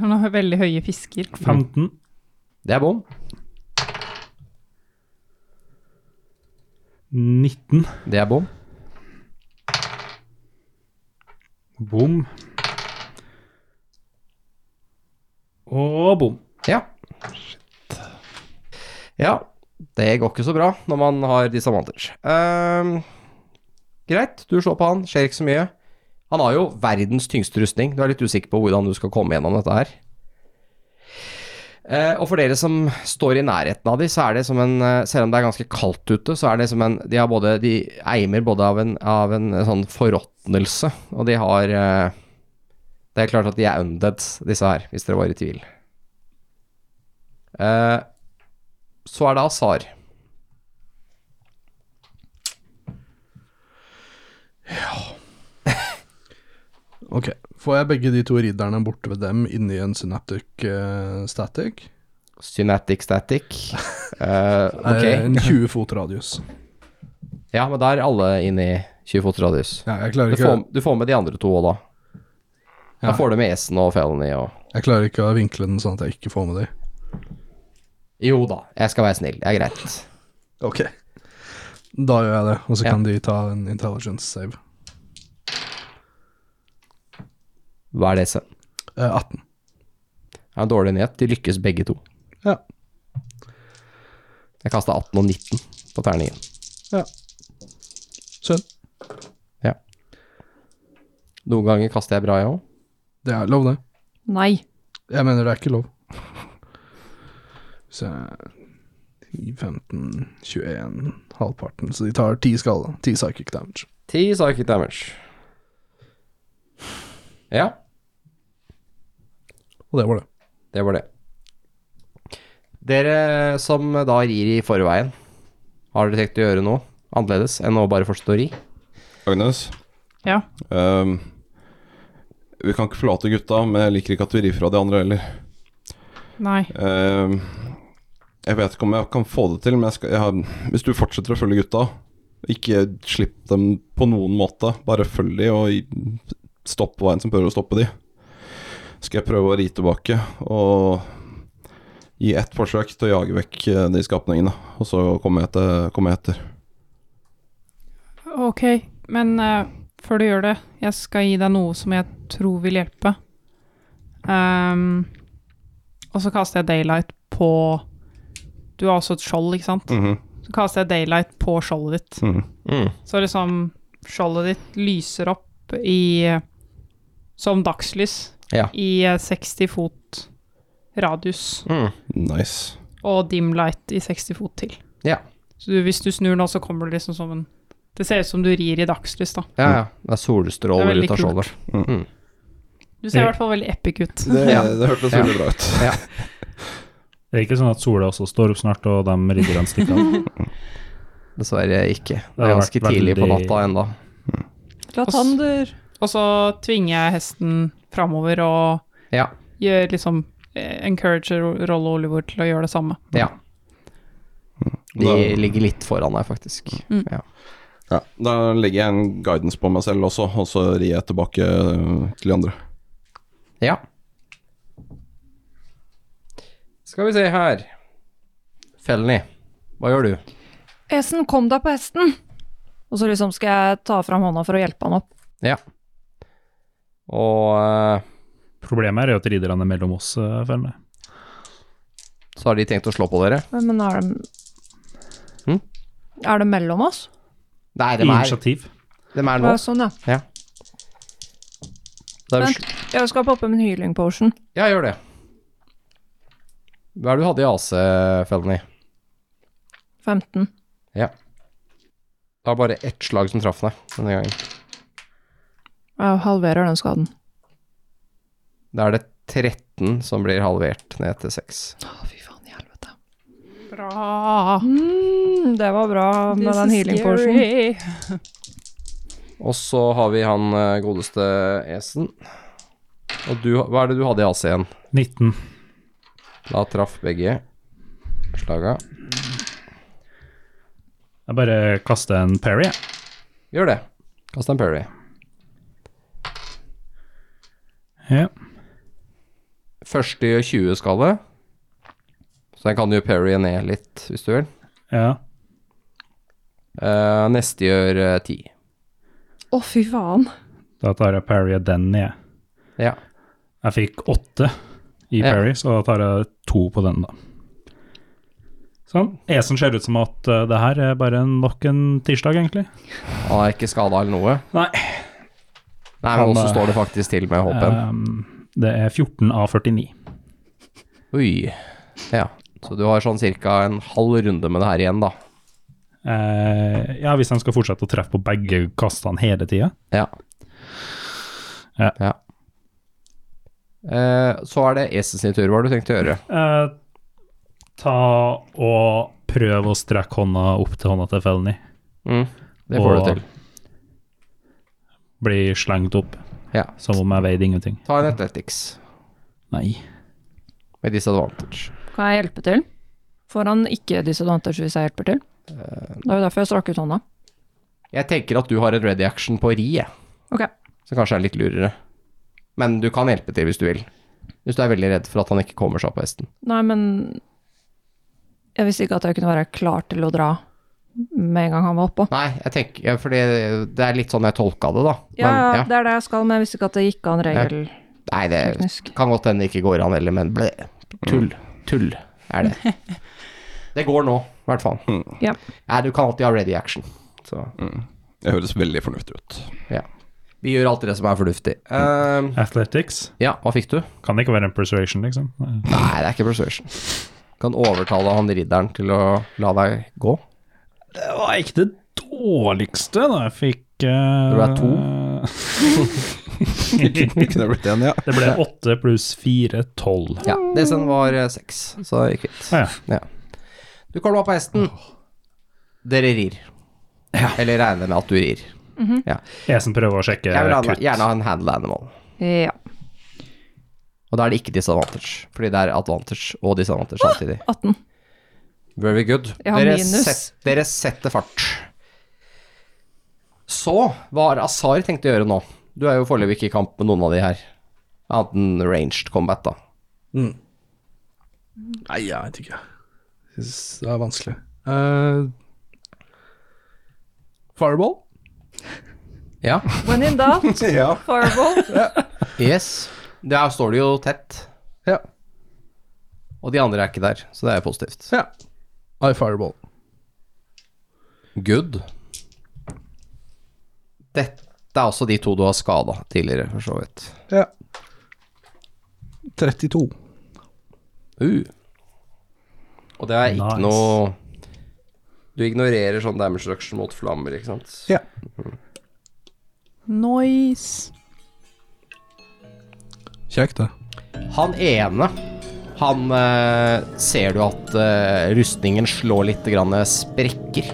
Han har veldig høye fisker. 15. Det er bom. 19. Det er bom. Bom. Og bom. Ja. Ja, det går ikke så bra når man har disadvantage. Ehm, greit, du slår på han, skjer ikke så mye. Han har jo verdens tyngste rustning. Du er litt usikker på hvordan du skal komme gjennom dette her. Eh, og for dere som står i nærheten av de, så er det som en eh, Selv om det er ganske kaldt ute, så er det som en De, har både, de eimer både av en, av en sånn forråtnelse, og de har eh, Det er klart at de er undead, disse her, hvis dere var i tvil. Eh, så er det Azar. Ok, får jeg begge de to ridderne borte ved dem inni en synaptic eh, static? Synatic (laughs) static. Eh, Eh, ok. (laughs) En 20 fot radius. Ja, men da er alle inne i 20 fot radius. Ja, jeg, klarer Du ikke, får, du får med de andre to òg, da. Da Ja. får du med Esen og Felony og jeg klarer ikke å vinkle den sånn at jeg ikke får med de. Jo da, jeg skal være snill. Det er greit. Ok. Da gjør jeg det, og så Ja. kan de ta en intelligence save. Hva er det, Esen? Eh, 18. Det er en dårlig nyhet. De lykkes begge to. Ja. Jeg kasta 18 og 19 på terningen. Synd. Noen ganger kaster jeg bra, jeg òg. Det er lov, det. Nei. Jeg mener det er ikke lov. Så 10, 15, 21, halvparten. Så de tar 10 skala. 10 psychic damage. 10 psychic damage. Ja, Og det var det. det var det. Dere som da rir i forveien, har dere tenkt å gjøre noe annerledes enn å bare fortsette å ri? Agnes? Ja. Ehm, vi kan ikke forlate gutta, men jeg liker ikke at vi rir fra de andre heller. Nei. Ehm, jeg vet ikke om jeg kan få det til, men jeg skal, jeg har, hvis du fortsetter å følge gutta Ikke slipp dem på noen måte. Bare følg de og i- stopp veien som prøver å stoppe de. Skal jeg prøve å ri tilbake og gi ett forsøk til å jage vekk eh, de skapningene. Og så kommer jeg, etter, kommer jeg etter. Ok, men eh, før du gjør det, jeg skal gi deg noe som jeg tror vil hjelpe. Ehm, og så kaster jeg daylight på Du har også et skjold, Mm. ikke sant? Mhm, Så kaster jeg daylight på skjoldet ditt. mhm. Mm, Så liksom skjoldet ditt lyser opp i Som dagslys Ja. i eh, 60 fot radius, mm. Nice. og dim light i 60 fot til. Ja. Så du, hvis du snur nå, så kommer det liksom som en Det ser ut som du rir i dagslys, da. Ja, ja. Det er solstråler Det er veldig ut av skjoldet. Du ser i hvert fall veldig epic ut. Det, Ja. det hørtes Ja. veldig bra ut. Det er ikke sånn at sola også står opp snart, og de ridderne stikker av. (laughs) Dessverre ikke. Det er har ganske vært tidlig på veldig- natta enda. Latander. (laughs) Og så tvinger jeg hesten framover og Ja. gjør liksom eh, Encourager Rolle Oliver til å gjøre det samme. ja. De (laughs) Da- ligger litt foran deg, faktisk. Ja. Ja, da legger jeg en guidance på meg selv også, og så rir jeg tilbake øh, til de andre. ja. Skal vi se her Felny, hva gjør du? Esen, kom deg på hesten! Og så liksom skal jeg ta fram hånda for å hjelpe han opp. Ja. Og eh, Problemet er jo at ridderne er mellom oss, eh, føler jeg. så har de tenkt å slå på dere? Men er det Hm? Er det mellom oss? Nei, I dem er, Initiativ. dem er nå. Ja, sånn, ja. Det er jo Vent. sl- Jeg skal poppe min healing potion. Ja, gjør det. Hva er det du hadde i AC, Felny? 15. Det var bare ett slag som traff deg denne gangen. Jeg halverer den skaden. Da er det 13 som blir halvert ned til 6. Å, fy faen i helvete. Bra! Mm, det var bra med This den is healing potion. scary. Og så har vi han eh, godeste Esen. Og du, hva er det du hadde i AC igjen? 19. Da traff begge slaga. Jeg bare kaster en parry, jeg. Gjør det. Kast en parry. Ja. Første i 20-skala. Så den kan jo parry ned litt, hvis du vil. ja. Eh, neste gjør eh, 10. Å, fy faen. Da tar jeg parry av den, jeg. Ja. Jeg fikk åtte i Ja. parry, så da tar jeg to på den, da. Sånn. Esen ser ut som at eh, det her er bare nok en tirsdag, egentlig. Han er ikke skada eller noe. Nei. Nei, men Han, også eh, står det faktisk til med HP-en. Um, det er 14 av 49. Oi. Ja. Så du har sånn ca. en halv runde med det her igjen, da. Eh, ja, hvis de skal fortsette å treffe på begge kastene hele tida. Ja. Ja. Eh, så er det Esen sin tur. Hva har du tenkt å gjøre? Eh, ta og prøv å strekke hånda opp til hånda til Felny. Mm, det får Og- du til. Bli slengt opp Ja. som om jeg veide ingenting. Ta en Athletics Nei. med disadvantage. Kan jeg hjelpe til? Får han ikke disadvantage hvis jeg hjelper til? Eh, Det er jo derfor jeg strakk ut hånda. Jeg tenker at du har en ready action på ri, jeg. Ok. Så kanskje er litt lurere. Men du kan hjelpe til hvis du vil. Hvis du er veldig redd for at han ikke kommer seg opp på hesten. Nei, men Jeg visste ikke at jeg kunne være klar til å dra med en gang han var oppå. Nei, jeg tenker ja, Fordi det er litt sånn jeg tolka det, da. Ja, Men, ja, det er det jeg skal, men jeg visste ikke at det gikk an regel. Nei, det Teknisk. Mm. (laughs) kan godt hende det ikke går an heller, men ble. Tull. Tull er det. Det går nå, i hvert fall. Mm. Ja. Nei, du kan alltid ha ready action. Så Det høres veldig fornuftig ut. (laughs) vi gjør alltid det som er fornuftig. Eh, Athletics. ja, hva fikk du? Kan det ikke være en persuasion, liksom? Nei. Nei, det er ikke persuasion. Kan overtale han ridderen til å la deg gå. Det var ikke det dårligste da jeg fikk. eh, Det ble to. (laughs) det Kunne det blitt en, ja. ble åtte pluss fire, tolv. Ja, DC-en var eh, seks, så det gikk fint. Ah, ja. Du kommer opp på hesten. Dere rir. Eller regner med at du rir. Esen prøver å sjekke Jeg vil ha, kutt. gjerne ha en handle animal. Eh, Ja. Og da er det ikke disadvantage, fordi det er advantage og disadvantage samtidig. 18. Very good. Jeg har Dere, minus. set, dere setter fart. Så hva har Azar tenkt å gjøre nå? Du er jo foreløpig ikke i kamp med noen av de her. Annet enn ranged combat, da. Nei, jeg vet ikke. Jeg synes det er vanskelig. Eh, fireball? Ja. When in doubt, ja. fireball. Yes. Der står du jo tett. Ja. Og de andre er ikke der, så det er jo positivt. Ja. I fireball. Good. Dette er også de to du har skada tidligere, for så vidt. Ja. 32. Uh. Og det er ikke Nice. noe Du ignorerer sånn damage reduction mot flammer, ikke sant? Ja. Nice. Kjekt, det. Han ene, han eh, ser du at eh, rustningen slår litt grann sprekker.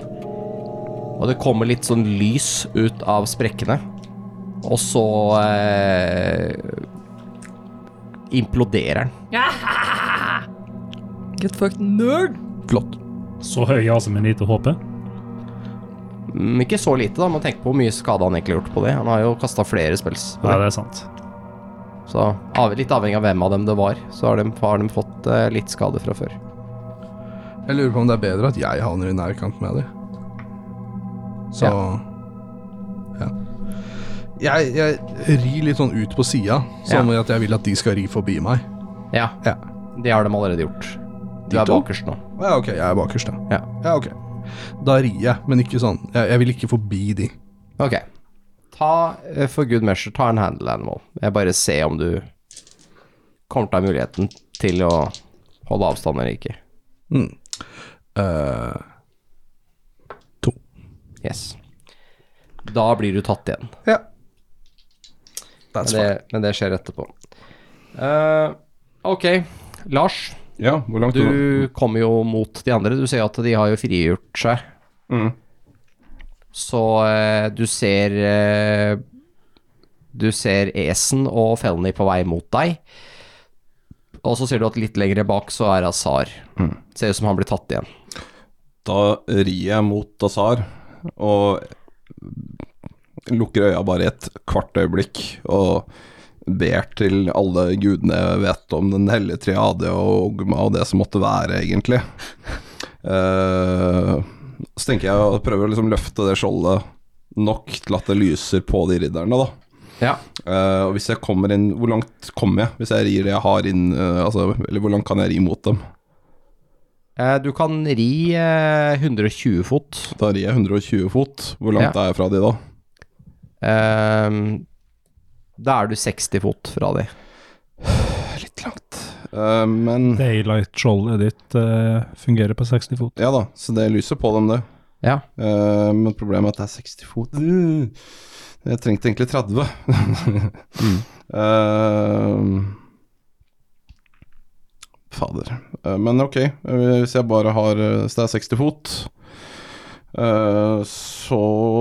Og det kommer litt sånn lys ut av sprekkene. Og så eh, imploderer den. (laughs) Get fucked nerd! Flott. Så høy altså ja som en lite håpe. Mm, ikke så lite, da. Man tenker på hvor mye skade han egentlig har gjort på det. Han har jo kasta flere spels. på Ja, det. det er sant. Så av, litt avhengig av hvem av dem det var, så har de, har de fått eh, litt skade fra før. Jeg lurer på om det er bedre at jeg havner i nærkamp med dem. Så ja. Jeg, jeg rir litt sånn ut på sida, sånn at jeg vil at de skal ri forbi meg. Ja, Ja. det har de allerede gjort. Du De er to? bakerst nå. ja, ok, jeg er bakerst, da. Ja. ja, ok. Da rir jeg, men ikke sånn. Jeg, jeg vil ikke forbi de. Ok. Ta, eh, for good measure, ta en handle animal. Jeg bare ser om du kommer til å ha muligheten til å holde avstand eller ikke. Mm. Eh, Yes. Da blir du tatt igjen. ja. Men det, men det skjer etterpå. Eh, ok, Lars. ja. Hvor langt unna? Du kommer jo mot de andre. Du ser at de har jo frigjort seg. Mm. Så eh, du ser eh, Du ser Esen og Felny på vei mot deg. Og så ser du at litt lenger bak så er Azar. Ser ut som han blir tatt igjen. Da rir jeg mot Azar og lukker øya bare i et kvart øyeblikk og ber til alle gudene jeg vet om den hellige triade og Ogma og det som måtte være, egentlig. Eh, så tenker jeg og prøver å liksom løfte det skjoldet nok til at det lyser på de ridderne, da. Ja. Eh, og hvis jeg kommer inn Hvor langt kommer jeg hvis jeg rir det jeg har inn eh, altså, Eller hvor langt kan jeg ri mot dem? Eh, Du kan ri eh, 120 fot. Da rir jeg 120 fot. Hvor langt er jeg fra de da? Eh, Da er du 60 fot fra de. Litt langt. Eh, men Daylight-skjoldet ditt eh, fungerer på 60 fot. Ja da, så det lyser på dem, det. Ja. Eh, men problemet er at det er 60 fot. Uh, Jeg trengte egentlig 30. Eh, fader. Eh, men ok, eh, hvis jeg bare har eh, Hvis det er 60 fot, eh, så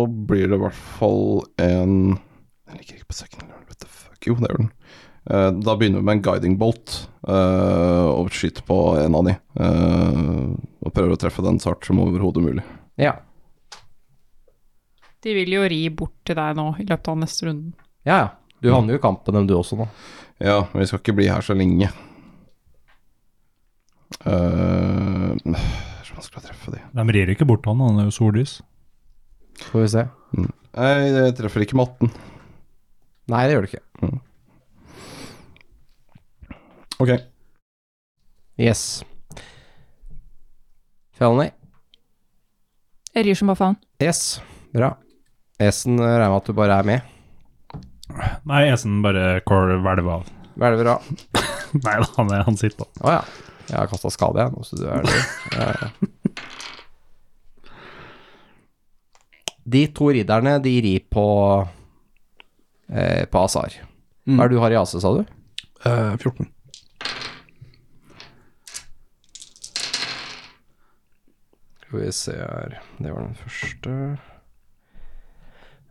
blir det i hvert fall en Den ligger ikke på second level, what the fuck. Jo, det gjør den. Eh, da begynner vi med en guiding bolt eh, og skyter på en av de. eh, og prøver å treffe den så hardt som overhodet mulig. Ja. De vil jo ri bort til deg nå i løpet av neste runde. Ja, ja. Du havner jo i kampen, dem du også, nå. Ja, men vi skal ikke bli her så lenge. Eh, det er så vanskelig å treffe de. De rir ikke bort han, han er jo sollys. Får vi se. Nei, jeg treffer ikke med 18. Nei, det gjør du ikke. Ok. Yes. Felony. Jeg rir som bare faen. Yes. Bra. Esen eh, regner med at du bare er med. Nei, Esen bare kål hvelver av. (laughs) Hvelver av. Nei da, han, er- han sitter på. Å ja. Jeg har kasta skade, jeg. nå, så du er det. (laughs) Ja, ja. De to ridderne, de rir på eh, På Azar. Hva er det du har i AC, sa du? Eh, 14. Skal vi se her Det var den første.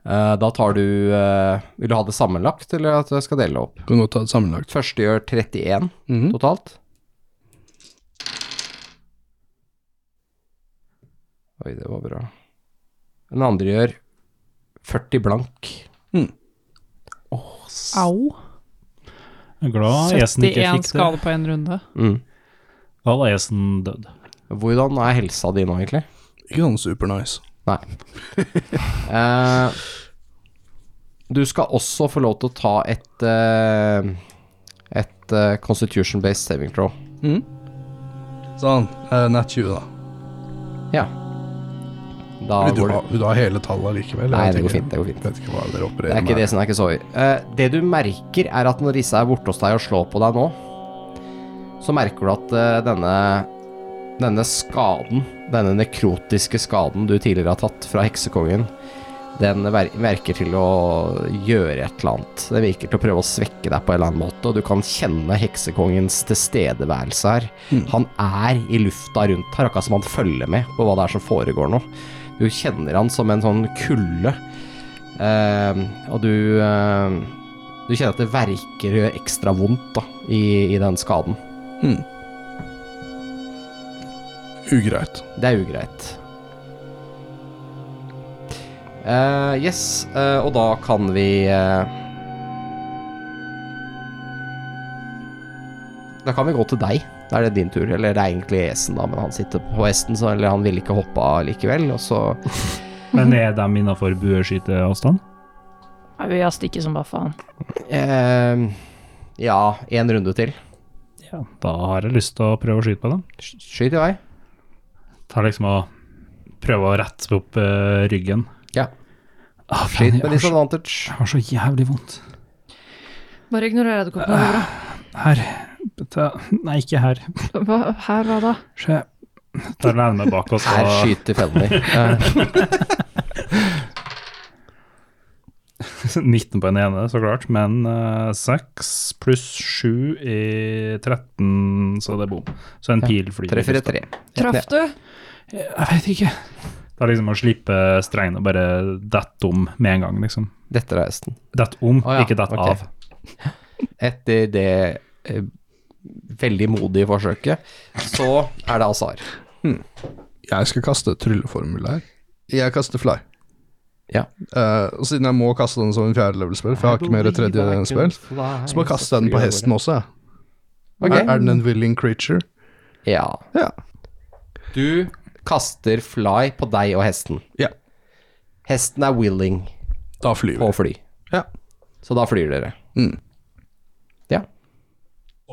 Eh, da tar du eh, Vil du ha det sammenlagt, eller at jeg skal dele det opp? Kan godt ta det sammenlagt. Første gjør 31 Mhm. totalt. Oi, det var bra. Den andre gjør 40 blank. Au. Jeg er glad Esen ikke 71 fikk det. skade på én runde. Da hadde Esen dødd. Hvordan er helsa di nå, egentlig? Ikke sånn supernice. (laughs) Nei. Eh, du skal også få lov til å ta et eh, et eh, constitution-based saving throw. Sånn. Uh, nat 20, da. Ja. Da Vil du, går det. ha, vil du ha hele tallet likevel? Nei, Jeg det går tenker- fint, det går fint. Vet ikke hva dere Det opererer er ikke det med. som er ikke så høy. Eh, det du merker, er at når Rissa er borte hos deg og slår på deg nå, så merker du at eh, denne denne skaden, denne nekrotiske skaden du tidligere har tatt fra heksekongen, den ver verker til å gjøre et eller annet. Det virker til å prøve å svekke deg på en eller annen måte, og du kan kjenne heksekongens tilstedeværelse her. Han er i lufta rundt her, akkurat som han følger med på hva det er som foregår nå. Du kjenner han som en sånn kulde Eh, og du eh, Du kjenner at det verker og gjør ekstra vondt da i, i den skaden. Ugreit. Det er ugreit. Eh, yes, eh, og da kan vi eh, Da kan vi gå til deg. Da er det din tur. Eller det er egentlig Esen, da, men han sitter på hesten, så eller han ville ikke hoppe av likevel. Og så Men er de innafor bueskyteavstand? Nei, Vi har stikket som bare faen. eh, Ja, én runde til. Ja. Da har jeg lyst til å prøve å skyte på dem. Sk- Skyt i vei. Tar liksom og prøver å rette opp eh, ryggen. Ja. Ah, Skyt faen, jeg, med har så, disadvantage. jeg har så jævlig vondt. Bare ignorer edderkoppen. det går bra. Her. Ta- Nei, ikke her. Hva, her, hva da? Se. Tar den ene med bak oss Her og skyter (laughs) Felny. Eh, (laughs) 19 på den ene, så klart. Men eh, 6 pluss 7 er 13, så det er bom. Så en Ja, pil flyr. i Treffer et lufta. tre. Traff du? Jeg vet ikke. Det er liksom å slippe strengen og bare dette om med en gang, liksom. Dette er hesten. Dette om, Å ja, ikke dette ok. av. Etter det eh, veldig modige forsøket, så er det Azar. Jeg skal kaste trylleformel her. Jeg kaster fly. Ja. Eh, og siden jeg må kaste den som en fjerdelevelspill, for jeg har ikke mer tredjedelspill, så må jeg kaste den på hesten også, jeg. Ok. Er, er den en willing creature? Ja. Ja. Du kaster fly på deg og hesten. Ja. Hesten er willing Da flyr på vi. å fly, Ja. så da flyr dere. Mm. Ja.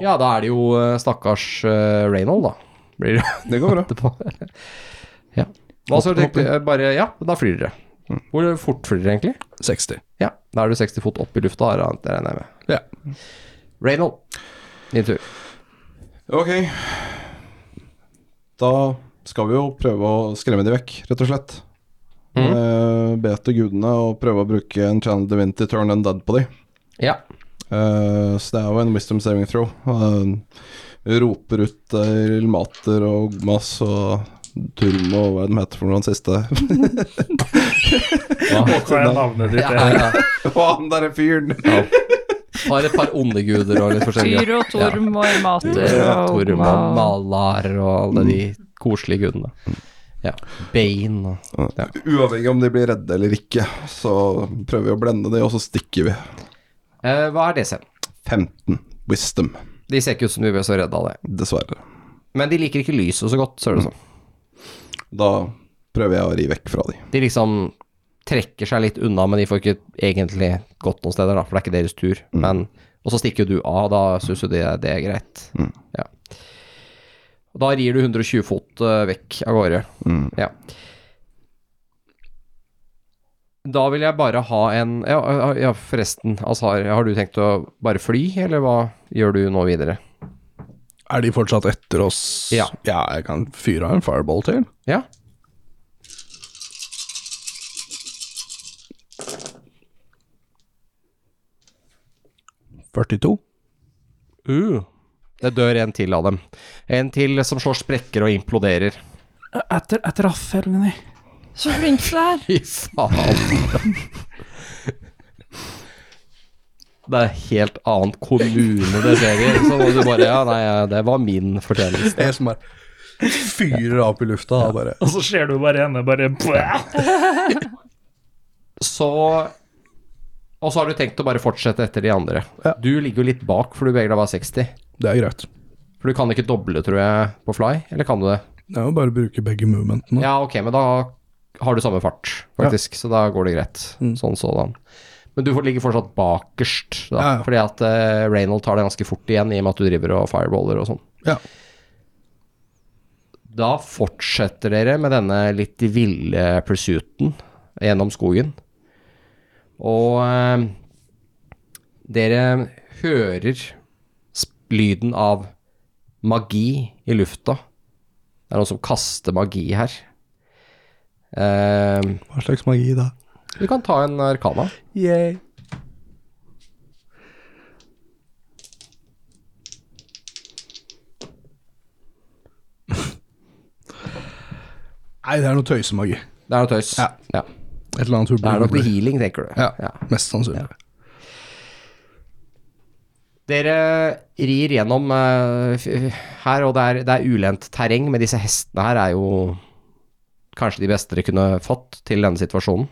Ja, da er det jo eh, stakkars eh, Reynold, da. Blir det Det (laughs) går (laughs) bra. etterpå. ja. Hva så tenkte jeg bare Ja, da flyr dere. Hvor fort flyr dere egentlig? 60. Ja, da er du 60 fot opp i lufta, her, det regner jeg med. Ja. Reynold, din tur. Ok. Da skal vi jo prøve å skremme de vekk, rett og slett. Eh, be til gudene og prøve å bruke en channel divinity turn undead på de. Ja. Eh, så det er jo en wisdom saving throw. Eh, roper ut eh, Rilmater og Ogmas og Turm og hva er det de heter for noe, han siste (laughs) (laughs) Hva er navnet ditt? ja, ja. Å, han derre fyren! Har et par onde guder og litt forskjellige. Tyr og Torm og Mater Ja, og Torm og Ogma. Malar og alle de koselige gudene. Ja. Bane og Uavhengig om de blir redde eller ikke, så prøver vi å blende de, og så stikker vi. eh, Hva er DC-en? 15 wisdom, De ser ikke ut som de blir så redde av det. dessverre. Men de liker ikke lyset så godt, ser det ut som. Da prøver jeg å ri vekk fra de. De liksom trekker seg litt unna, men de får ikke egentlig gått noen steder, da, for det er ikke deres tur. Men, og så stikker jo du av, da syns jo det, det er greit. Ja. Og da rir du 120 fot eh, vekk av gårde. Mm. Ja. Da vil jeg bare ha en Ja, ja forresten, Azar, har du tenkt å bare fly, eller hva gjør du nå videre? Er de fortsatt etter oss? Ja. jeg kan fyre av en fireball til. Ja? Det dør en til av dem. En til som slår sprekker og imploderer. Etter, etter Eleni. Så flink du er. Fy faen. Det er helt annet kommune det skjer i. Så må du bare Ja, nei, det var min fortjeneste. Jeg som bare fyrer opp i lufta og bare (laughs) Og så ser du bare henne bare (laughs) Så Og så har du tenkt å bare fortsette etter de andre. Du ligger jo litt bak, for du beveger deg bare 60. Det er greit. For du kan ikke doble, tror jeg, på fly. Eller kan du det? Det er jo bare å bruke begge movementene. Ja, ok, men da har du samme fart, faktisk, så da går det greit. Sånn sådan. Men du får- ligger fortsatt bakerst, da, Ja, ja. fordi at uh, Reynold tar det ganske fort igjen, i og med at du driver og fireballer og sånn. Ja. Da fortsetter dere med denne litt ville pursuiten gjennom skogen. Og eh, dere hører sp- lyden av magi i lufta. Det er noen som kaster magi her. Eh, Hva slags magi, da? du kan ta en arkana. Yay. Nei, det er noe tøysemagi. Det er noe tøys. Ja. Ja. Et eller annet Det er noe hurblubler. healing, tenker du. Ja, Ja. mest sannsynlig. Dere rir gjennom eh, f- her, og det er, det er ulendt terreng, men disse hestene her er jo kanskje de beste dere kunne fått til denne situasjonen.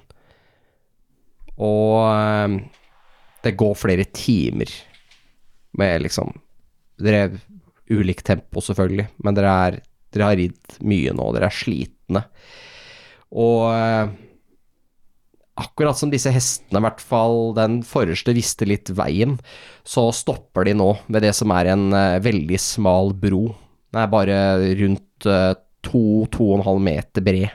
Og eh, det går flere timer med liksom Dere Ulikt tempo, selvfølgelig, men dere, er, dere har ridd mye nå, dere er slitne. Og eh, akkurat som disse hestene, i hvert fall den forreste visste litt veien, så stopper de nå ved det som er en eh, veldig smal bro. Den er bare rundt eh, to, to og en halv meter bred.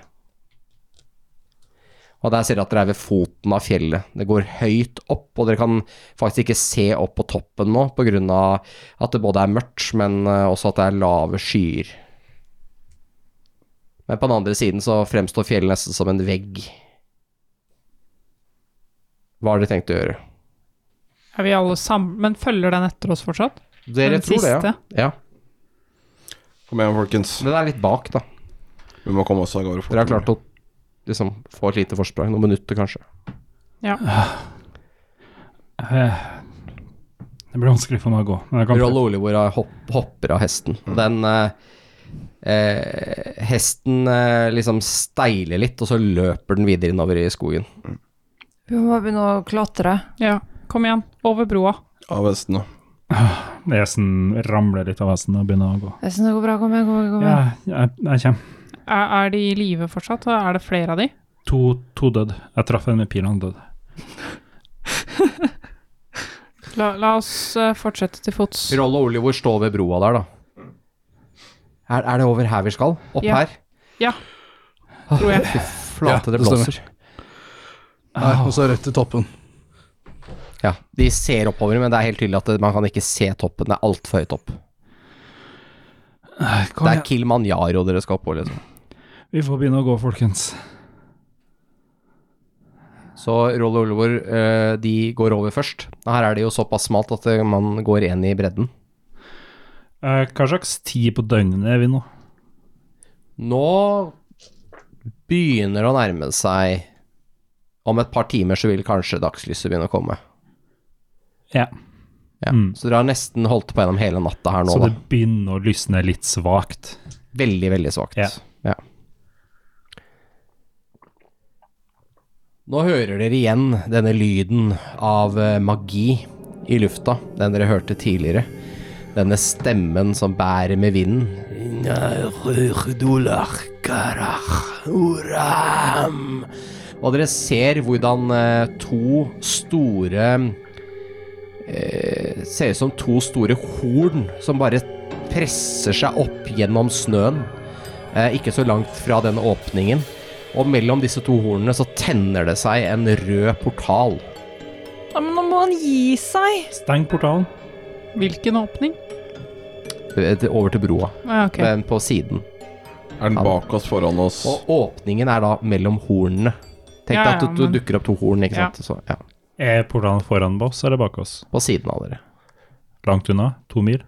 Og der ser dere at dere er ved foten av fjellet. Det går høyt opp, og dere kan faktisk ikke se opp på toppen nå, på grunn av at det både er mørkt, men eh, også at det er lave skyer. Men på den andre siden så fremstår fjellet nesten som en vegg. Hva har dere tenkt å gjøre? Er vi alle sammen Men følger den etter oss fortsatt? Dere Den tror det, siste. ja. ja. Kom igjen, folkens. Den er litt bak, da. Vi må komme oss av gårde. fort. Dere har klart å liksom, få et lite forsprang, noen minutter kanskje. Det blir vanskelig for meg å gå. Men jeg kan Roll Olivor har hopp, hopper av hesten. Og Den eh, eh, hesten eh, liksom steiler litt, og så løper den videre innover i skogen. Vi må begynne å klatre. Ja. Kom igjen, over broa. Av hestene. Hesten ramler litt av hesten og begynner å gå. Jeg syns det går bra. Kom igjen, kom igjen. kom Ja, igjen. jeg, jeg kommer. Er, er de i live fortsatt? og Er det flere av de? To, to død. Jeg traff en med pil, han døde. La, la oss eh, fortsette til fots. Roll og Olivor står ved broa der, da. Er, er det over her vi skal? Opp Ja. her? Ja. Åh, Tror jeg. Fy flate, Ja, det det stemmer. blåser. Nei, og så rett til toppen. Ja, De ser oppover, men det er helt tydelig at det, man kan ikke se toppen. Det er altfor høyt opp. Kom det er Eh, igjen. Kilimanjaro dere skal opp på, liksom. Vi får begynne å gå, folkens. Så Roll og Olivor, eh, de går over først. Her er det jo såpass smalt at eh, man går inn i bredden. Eh, hva slags tid på døgnet er vi nå? Nå begynner det å nærme seg Om et par timer så vil kanskje dagslyset begynne å komme. Ja. Ja. Mm. Så dere har nesten holdt på gjennom hele natta her nå, Så det da. begynner å lysne litt svakt. Veldig, veldig svakt. Ja. Ja. Nå hører dere igjen denne lyden av eh, magi i lufta, den dere hørte tidligere. Denne stemmen som bærer med vinden. Og dere ser hvordan eh, to store eh, Ser ut som to store horn som bare presser seg opp gjennom snøen, eh, ikke så langt fra den åpningen. Og mellom disse to hornene så tenner det seg en rød portal. Ja, men nå må han gi seg. Steng portalen. Hvilken åpning? eh, til- Over til broa, Ah, ok. men på siden. Er den bak oss, foran oss? Og åpningen er da mellom hornene. Tenk Ja, deg at ja, du, men- du dukker opp to horn, ikke Ja. sant. Så, ja. Er portalen foran oss eller bak oss? På siden av dere. Langt unna? To mil?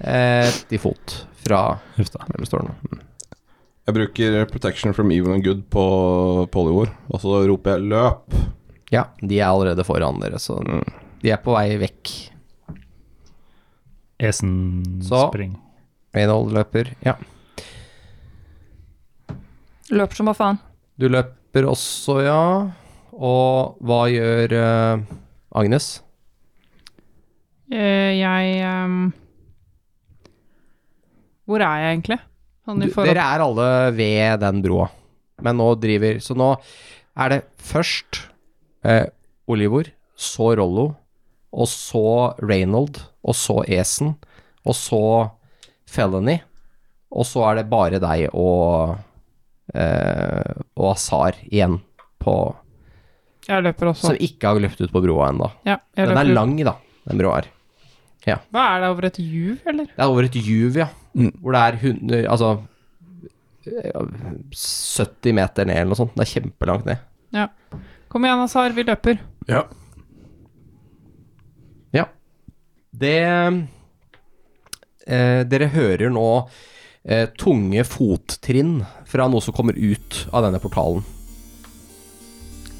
Eh, til fot fra Huff da. Eller står det nå? Mm. Jeg bruker protection from evil and good på Polyvor, og så roper jeg 'løp'. Ja, de er allerede foran dere, så Mm. de er på vei vekk. Esen Så. spring. Reynold løper. Ja. Løper som hva faen. Du løper også, ja. Og hva gjør eh, Agnes? Eh, jeg ehm, Hvor er jeg egentlig? Sånn i Du, forhold- dere er alle ved den broa, men nå driver Så nå er det først eh, Olivor, så Rollo, og så Reynold, og så Esen, og så Felony, og så er det bare deg og eh, og Azar igjen på Jeg løper også. Som ikke har løpt ut på broa ennå. Ja, jeg Den løper. er lang, da, den broa her. Hva er det over et juv, eller? Det er over et juv, ja. Mm. Hvor det er 100 Altså eh, 70 meter ned eller noe sånt. Det er kjempelangt ned. Kom igjen, Azar, vi løper. Ja. Ja. Det eh, Dere hører nå eh, tunge fottrinn fra noe som kommer ut av denne portalen.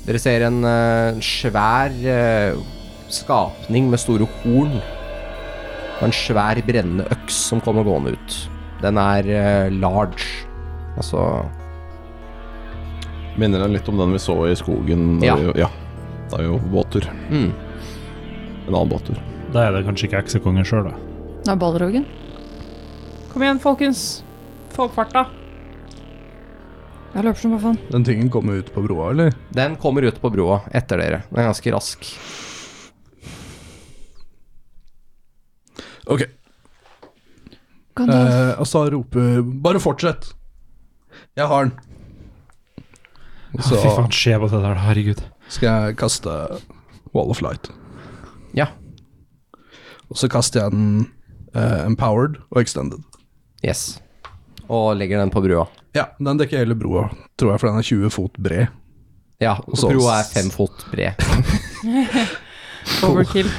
Dere ser en eh, svær eh, skapning med store horn. Og en svær brennende øks som kommer gående ut. Den er eh, large. Altså Minner den litt om den vi så i skogen. Da Ja. Vi, ja. Da er vi var på båttur. mm. En annen båttur. Da er det kanskje ikke eksekongen sjøl, da. Det er ballrogen. Kom igjen, folkens. Få opp farta. Jeg løper som hva faen. Den tingen kommer ut på broa, eller? Den kommer ut på broa etter dere. Den er ganske rask. Ok. Kan du... Eh, Azar roper 'bare fortsett'. Jeg har den. Og Fy så faen, se på det der, da, herregud. skal jeg kaste Wall of Light. Ja. Og så kaster jeg den eh, Empowered og Extended. Yes. Og legger den på broa. Ja, den dekker hele broa, tror jeg, for den er 20 fot bred. Ja, og så- broa er fem fot bred. Overkill.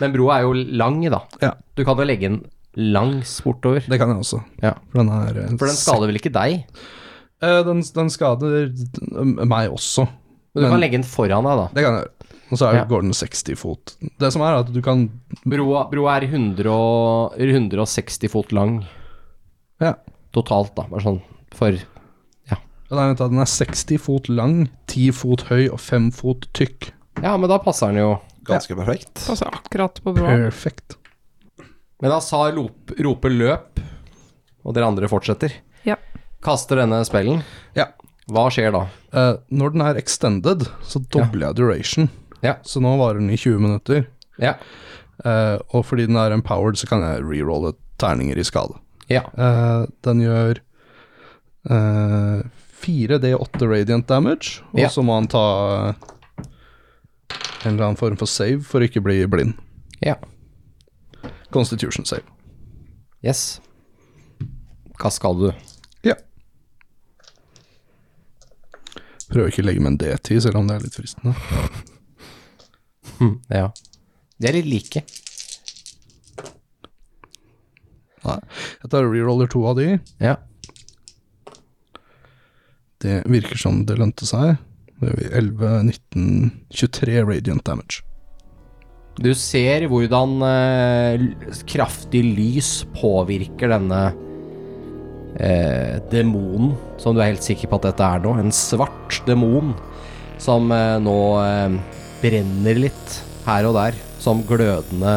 Men broa er jo lang, da. Ja. Du kan jo legge den langs bortover. Det kan jeg også. Ja. For den er eh, For den skader vel ikke deg? sek- Eh, den, den skader eh, meg også. Du kan Men- legge den foran deg, da. Det kan jeg gjøre. Og så er, Ja. går den 60 fot. Det som er, er at du kan Broa, broa er 100 og, 160 fot lang Ja. totalt, da. Bare sånn for Nei, vent da, Den er 60 fot lang, 10 fot høy og 5 fot tykk. Ja, men da passer den jo. Ganske perfekt. Passer akkurat på broa. Perfekt. Men Azar lop- roper løp, og dere andre fortsetter. Ja. Kaster denne spellen. Ja. Hva skjer da? Eh, når den er extended, så dobler jeg duration. Ja. Så nå varer den i 20 minutter. Ja. Eh, og fordi den er empowered, så kan jeg rerolle terninger i skade. Ja. Eh, den gjør eh, 4D8 radiant damage, og Ja. så må han ta eh, en eller annen form for save for å ikke bli blind. ja. Constitution save. Yes. Hva skal du? Ja. Prøver ikke å legge med en D10, selv om det er litt fristende. Ja. De er litt like. Nei. Jeg tar reroller to av de. Ja. Det virker som det lønte seg. Det er 11, 19, 23 radiant damage. Du ser hvordan eh, l- kraftig lys påvirker denne eh, demonen, som du er helt sikker på at dette er nå. En svart demon som eh, nå eh, brenner litt her og der, som glødende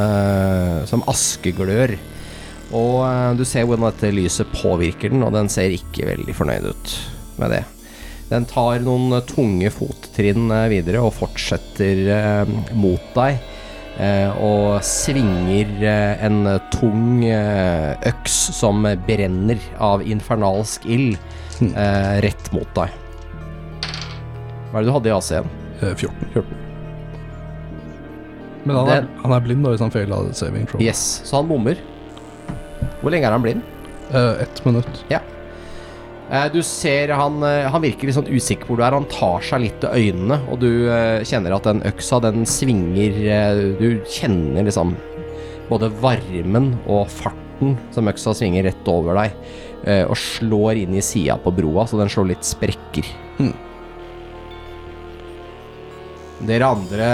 Som askeglør. Og eh, du ser hvordan dette lyset påvirker den, og den ser ikke veldig fornøyd ut med det. Den tar noen tunge fottrinn eh, videre og fortsetter eh, mot deg. eh, og svinger eh, en tung eh, øks som brenner av infernalsk ild eh, rett mot deg. Hva er det du hadde i AC igjen? Eh, 14. Men han er, han er blind da, hvis han feiler saving throw. Yes, så han bommer. Hvor lenge er han blind? Eh, ett minutt. Eh, Du ser han, eh, han virker litt sånn usikker hvor du er. Han tar seg litt til øynene, og du eh, kjenner at den øksa, den svinger eh, Du kjenner liksom både varmen og farten som øksa svinger rett over deg, eh, og slår inn i sida på broa, så den slår litt sprekker. Hmm. Dere andre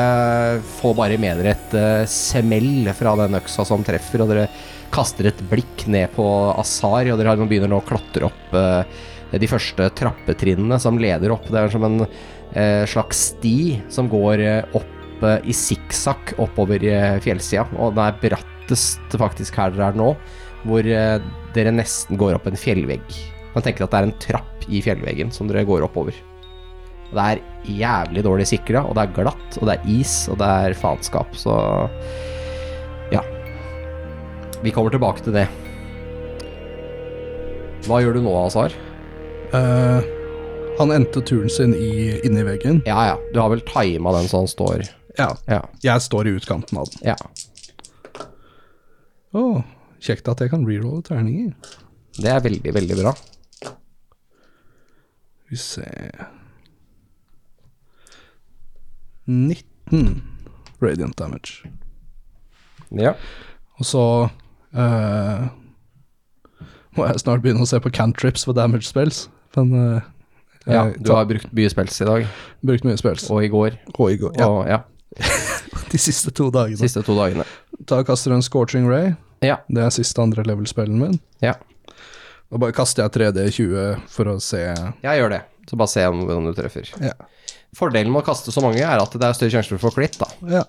får bare med dere et eh, smell fra den øksa som treffer, og dere kaster et blikk ned på Asar, og dere har- begynner nå å klatre opp eh, de første trappetrinnene som leder opp. Det er som en eh, slags sti som går eh, opp eh, i sikksakk oppover eh, fjellsida, og den er brattest faktisk her dere er nå, hvor eh, dere nesten går opp en fjellvegg. Man tenker at det er en trapp i fjellveggen som dere går oppover. Og Det er jævlig dårlig sikra, og det er glatt, og det er is, og det er faenskap, så ja. Vi kommer tilbake til det. Hva gjør du nå, Azar? Eh, han endte turen sin i, inni veggen. Ja, ja. Du har vel tima den så han står Ja. Ja. Jeg står i utkanten av den. ja. Å, kjekt at jeg kan rerolle terninger. Det er veldig, veldig bra. Vi ser 19 radiant damage. Ja. Og så eh, må jeg snart begynne å se på cantrips for damage spells. Men eh, jeg du har brukt mye spels i dag, brukt mye spells. og i går, Og i går. Ja, og ja, de siste to dagene. siste to dagene. Da kaster jeg en scorching ray. Ja. Det er siste andre level-spellen min. Ja. Da bare kaster jeg 3D20 for å se Jeg gjør det. Så bare se om hvordan du treffer. Ja. Fordelen med å kaste så mange er at det er større sjanse for å få klitt, da. Ja.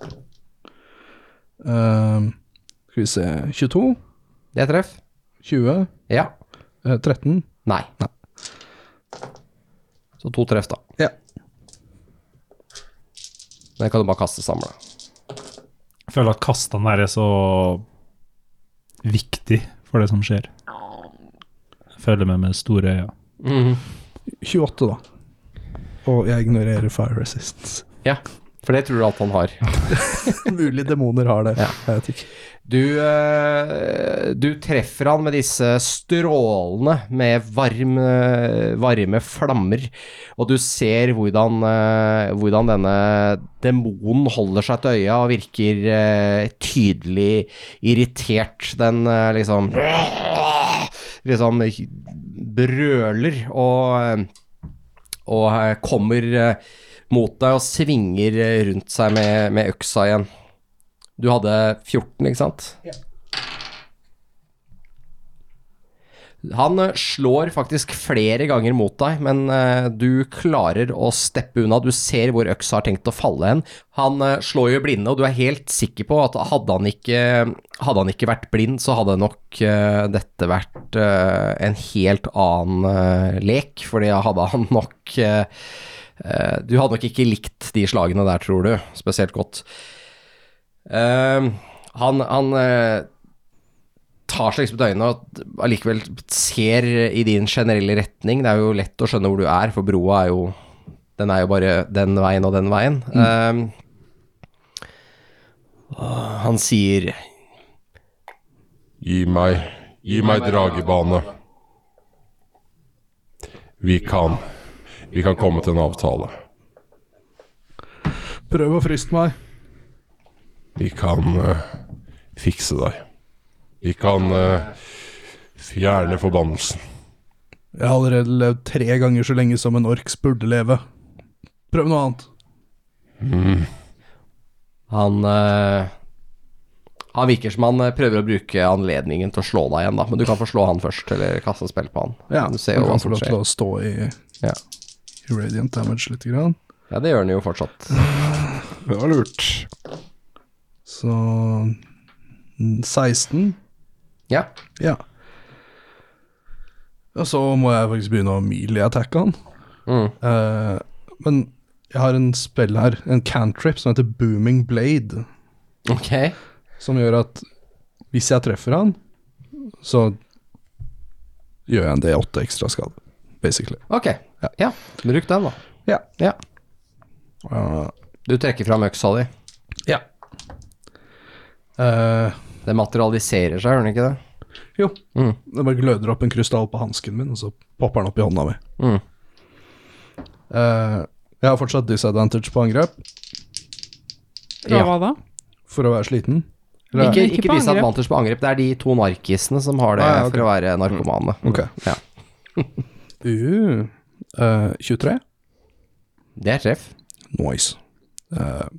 Ehm, skal vi se 22, Det er treff. 20, Ja. eh, 13 Nei. Nei. Så to treff, da. Ja. Den kan du bare kaste samla. Jeg føler at kastene der er så viktig for det som skjer. Jeg føler meg med store øyne. 28, da. Og jeg ignorerer fire resistance. Ja, for det tror du alt han har. (laughs) Mulig demoner har det. Ja. Jeg vet ikke. Du, eh, du treffer han med disse strålene med varm, eh, varme flammer, og du ser hvordan, eh, hvordan denne demonen holder seg til øya og virker eh, tydelig irritert. Den eh, liksom liksom brøler og eh, og eh, kommer eh, mot deg og svinger eh, rundt seg med, med øksa igjen. Du hadde 14, ikke sant? Han eh, slår faktisk flere ganger mot deg, men eh, du klarer å steppe unna. Du ser hvor øksa har tenkt å falle hen. Han eh, slår jo blinde, og du er helt sikker på at hadde han ikke, hadde han ikke vært blind, så hadde nok eh, dette vært eh, en helt annen eh, lek, fordi hadde han nok eh, eh, Du hadde nok ikke likt de slagene der, tror du, spesielt godt. Eh, han han eh, tar seg liksom til øynene og allikevel ser i din generelle retning. Det er jo lett å skjønne hvor du er, for broa er jo Den er jo bare den veien og den veien. Mm. Eh, han sier Gi meg, gi meg dragebane. Vi kan, vi kan komme til en avtale. Prøv å friste meg. Vi kan eh, fikse deg. Vi kan eh, fjerne forbannelsen. Jeg har allerede levd tre ganger så lenge som en orks burde leve. Prøv noe annet. Han eh, Han virker som han eh, prøver å bruke anledningen til å slå deg igjen, da. Men du kan få slå han først, eller kaste spill på han. Ja, du ser jo hva kan få som lov til skjer. å stå i, Ja. i radiant damage lite grann. ja, det gjør han jo fortsatt. Det var lurt. Så mm, 16. Ja. Ja. Og så må jeg faktisk begynne å melee-attacke han. Mm. Eh, men jeg har en spill her, en cantrip, som heter Booming Blade. Ok. Som gjør at hvis jeg treffer han, så gjør jeg en D8 ekstra skade, basically. Ok. Ja. Bruk den, da. Ja. Ja. Uh, Du trekker fram øksa di. ja. Eh, Det materialiserer seg, gjør den ikke det? jo. Mm. Det bare gløder opp en krystall på hansken min, og så popper den opp i hånda mi. Mm. Eh, jeg har fortsatt disadvantage på angrep, Bra, Ja. hva da? for å være sliten. Eller- Ikke, Ikke ikke på vise angrep. advantage på angrep. Det er de to narkisene som har det Ah, ja, ok. for å være narkomane. Ok. Ja. Uh, eh, 23. Det er treff. Nice. Eh,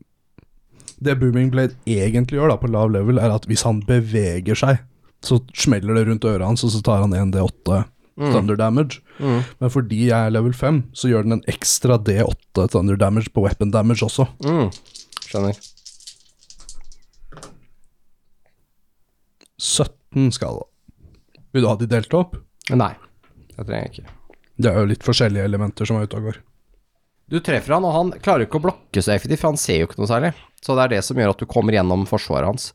det Booming Blade egentlig gjør da på lav level, er at hvis han beveger seg, så smeller det rundt øret hans, og så tar han 1D8 thunder damage. Men fordi jeg er level 5, så gjør den en ekstra D8 thunder damage på weapon damage også. Mm. Skjønner. 17 skade. Vil du ha de delt opp? Nei, det trenger jeg ikke. Det er jo litt forskjellige elementer som er ute og går. Du treffer han, og han klarer ikke å blokke så effektivt, for han ser jo ikke noe særlig. Så det er det som gjør at du kommer gjennom forsvaret hans.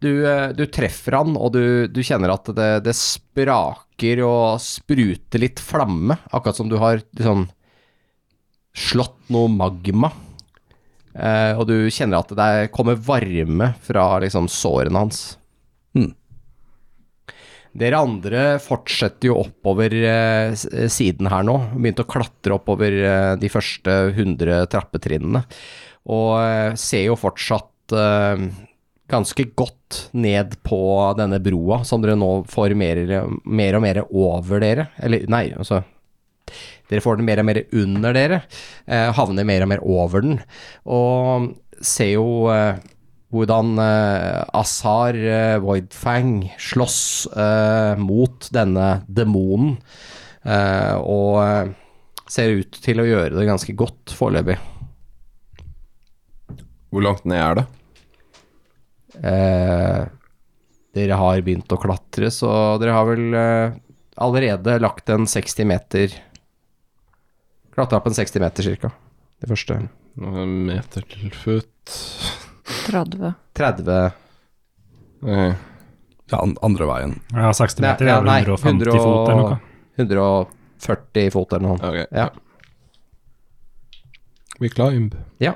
Du, eh, du treffer han, og du, du kjenner at det, det spraker og spruter litt flamme, akkurat som du har liksom slått noe magma. Eh, og du kjenner at det er- kommer varme fra liksom sårene hans. Mm. Dere andre fortsetter jo oppover eh, s- siden her nå. Begynte å klatre oppover eh, de første 100 trappetrinnene. Og eh, ser jo fortsatt eh, ganske godt ned på denne broa, som dere nå får mer, mer og mer over dere. Eller nei, altså dere får den mer og mer under dere, eh, havner mer og mer over den, og ser jo eh, hvordan eh, Azar eh, Voidfang slåss eh, mot denne demonen, eh, og eh, ser ut til å gjøre det ganske godt foreløpig. Hvor langt ned er det? Eh, dere har begynt å klatre, så dere har vel eh, allerede lagt en 60 meter Klatra opp en 60 meter, cirka. Det første. Noen meter til foot 30. 30 Eh, Ja, an- andre veien. Ja, 60 meter er vel 150 fot eller noe. 140 fot eller noe. Ok. Ja. We climb. ja.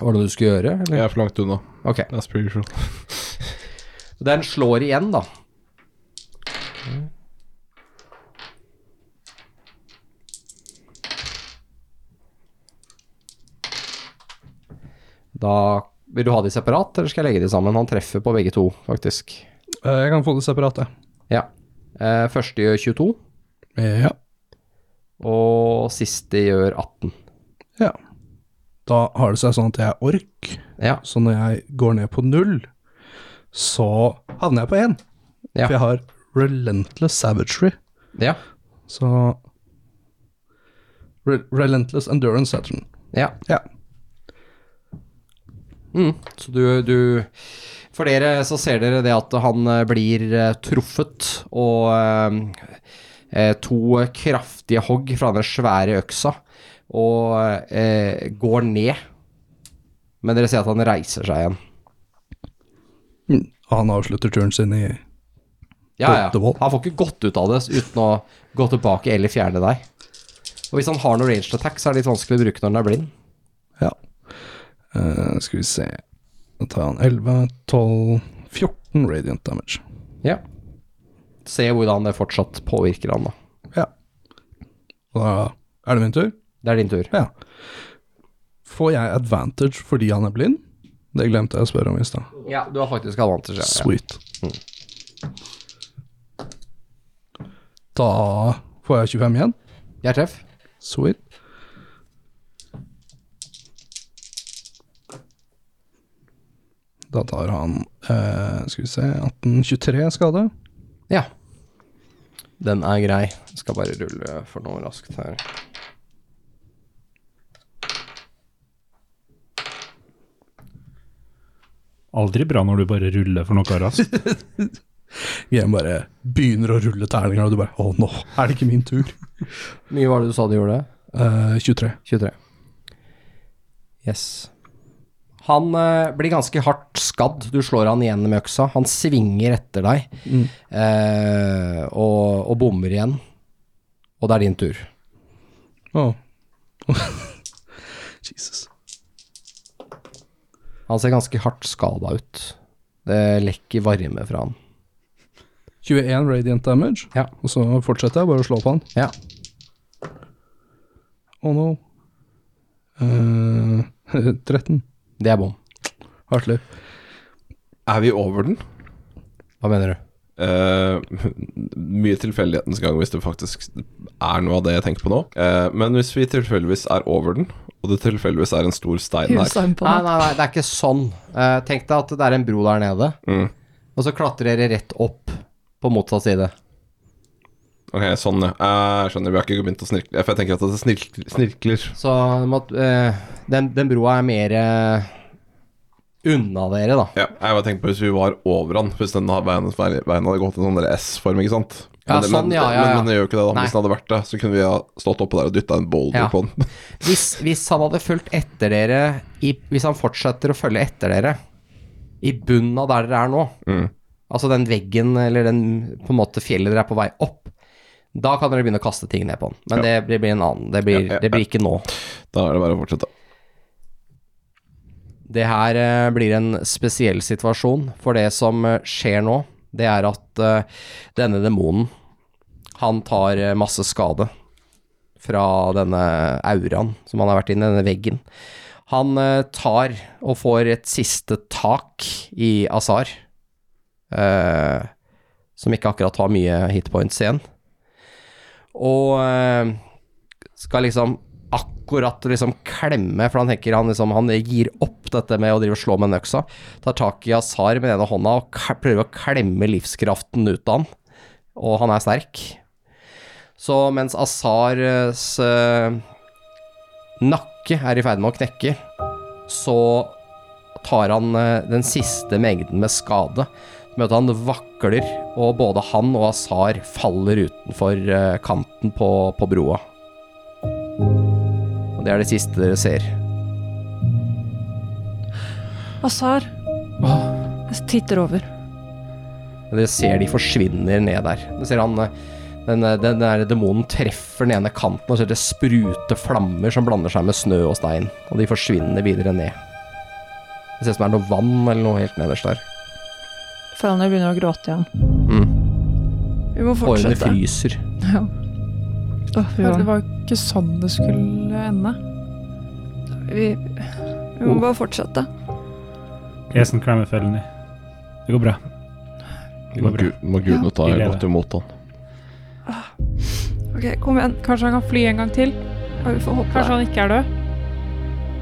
Var det noe du skulle gjøre? Jeg er for langt unna. Ok. That's pretty sure. Den slår igjen, da. Da Vil du ha de separat, eller skal jeg legge de sammen? Han treffer på begge to, faktisk. Eh, jeg kan få det separat, jeg. Ja. Eh, Første gjør 22, Ja. og siste gjør 18. ja. Da har det seg sånn at jeg er ork. Ja. Så når jeg går ned på null, så havner jeg på én. Ja. For jeg har Relentless Savagery. Ja. Så Re Relentless Endurance Saturn. ja. Ja. Mm. Så du, du For dere så ser dere det at han eh, blir eh, truffet, og eh, eh, to kraftige hogg fra den svære øksa, og eh, går ned. Men dere ser at han reiser seg igjen. Og han avslutter turen sin i Ja, ja. Dottevold. Han får ikke gått ut av det uten å gå tilbake eller fjerne deg. Og hvis han har noe ranged attack, så er det litt vanskelig å bruke når han er blind. Ja. Eh, skal vi se Da tar han 11, 12, 14 radiant damage. Ja. Se hvordan det fortsatt påvirker han, da. Ja. Og da er det min tur. Det er din tur. Ja. Får jeg advantage fordi han er blind? Det glemte jeg å spørre om i stad. Ja, du har faktisk advantage. Ja. Sweet. Da får jeg 25 igjen. Jeg treff. Sweet. Da tar han eh, Skal vi se 18, 23 skade. Ja. Den er grei. Jeg skal bare rulle for noe raskt her. Aldri bra når du bare ruller for noe raskt. Jeg bare begynner å rulle terninger, og du bare Å, nå er det ikke min tur. Hvor mye var det du sa du gjorde? Eh, 23. 23. Yes. Han eh, blir ganske hardt skadd. Du slår han igjen med øksa. Han svinger etter deg eh, og, og bommer igjen. Og det er din tur. (laughs) Å. Jesus. Han ser ganske hardt skada ut. Det lekker varme fra han. 21 radiant damage. Ja. Og så fortsetter jeg bare å slå på han. Ja. Oh no. Eh, (laughs) 13. Det er bom. Hardt liv. Er vi over den? Hva mener du? Eh, (laughs) mye tilfeldighetens gang hvis det faktisk er noe av det jeg tenker på nå. Eh, men hvis vi tilfeldigvis er over den, og det tilfeldigvis er en stor stein her Husa hun på Nei, meg. nei, nei, det er ikke sånn. Eh, tenk deg at det er en bro der nede, Mm. og så klatrer dere rett opp på motsatt side. Ok, sånn, ja. Eh, Jeg skjønner, vi har ikke begynt å snirkle. For jeg tenker at det snirkler. snirkler. Så du må, eh, den, den broa er mer eh, unna dere, da. Ja, jeg bare tenker på hvis vi var over den, hvis den hadde- veien, veien hadde gått en sånn der S-form, ikke sant? Ja, Men det- sånn, men, ja, ja, ja. Men, men det gjør jo ikke det, da. Nei. Hvis den hadde vært det, så kunne vi ha stått oppå der og dytta en boulder Ja. på den. (laughs) Hvis, hvis han hadde fulgt etter dere i, Hvis han fortsetter å følge etter dere i bunnen av der dere er nå, Mm. altså den veggen eller den på en måte fjellet dere er på vei opp, da kan dere begynne å kaste ting ned på han. Men det, det blir en annen. Det blir, Ja, ja, det blir ikke nå. Da er det bare å fortsette. Det her eh, blir en spesiell situasjon, for det som eh, skjer nå, det er at eh, denne demonen, han tar eh, masse skade fra denne auraen som han har vært inne i, denne veggen. Han eh, tar og får et siste tak i Azar, eh, som ikke akkurat har mye hitpoints igjen, og eh, skal liksom akkurat liksom klemme, for han tenker han, liksom, han gir opp dette med å drive og slå med en øksa. Tar tak i Azar med den ene hånda og k- prøver å klemme livskraften ut av han. Og han er sterk. Så mens Azars eh, nakke er i ferd med å knekke, så tar han eh, den siste mengden med skade. Med at han vakler, og både han og Azar faller utenfor eh, kanten på, på broa. Og det er det siste dere ser. Azar. Jeg titter over. Og Dere ser de forsvinner ned der. Dere ser han eh, den, den der demonen treffer den ene kanten, og så er det sprute flammer som blander seg med snø og stein. Og de forsvinner videre ned. Det ser ut som det er noe vann eller noe helt nederst der. Føler jeg begynner å gråte igjen. Vi må Årene fortsette. fryser. Åh, fy Ja, faen. det var jo ikke sånn det skulle ende. Vi, vi må bare fortsette. Esen klemmer fellen i. Det går bra. Det går Må, bra. Gud, må gudene ta Vi lever. godt imot han. Ok, kom igjen. Kanskje han kan fly en gang til? Ja, vi får håpe Kanskje det. han ikke er død?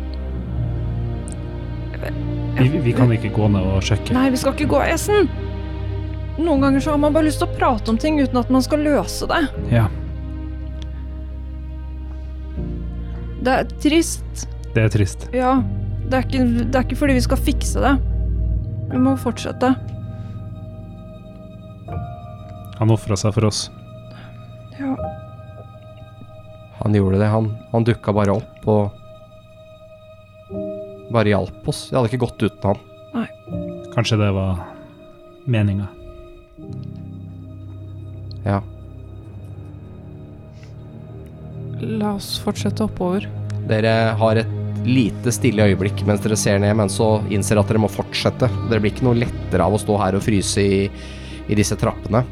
Vi, vi kan ikke gå ned og sjekke. Nei, vi skal ikke gå esen! Noen ganger så har man bare lyst til å prate om ting uten at man skal løse det. Ja, Det er trist. det er trist. Ja. Det er ikke, det er ikke fordi vi skal fikse det. Vi må fortsette. Han ofra seg for oss. Ja. Han gjorde det. Han, han dukka bare opp og bare hjalp oss. Det hadde ikke gått uten han. Kanskje det var meninga. Ja. La oss fortsette oppover. Dere har et lite stille øyeblikk mens dere ser ned, men så innser at dere må fortsette. Dere blir ikke noe lettere av å stå her og fryse i, i disse trappene.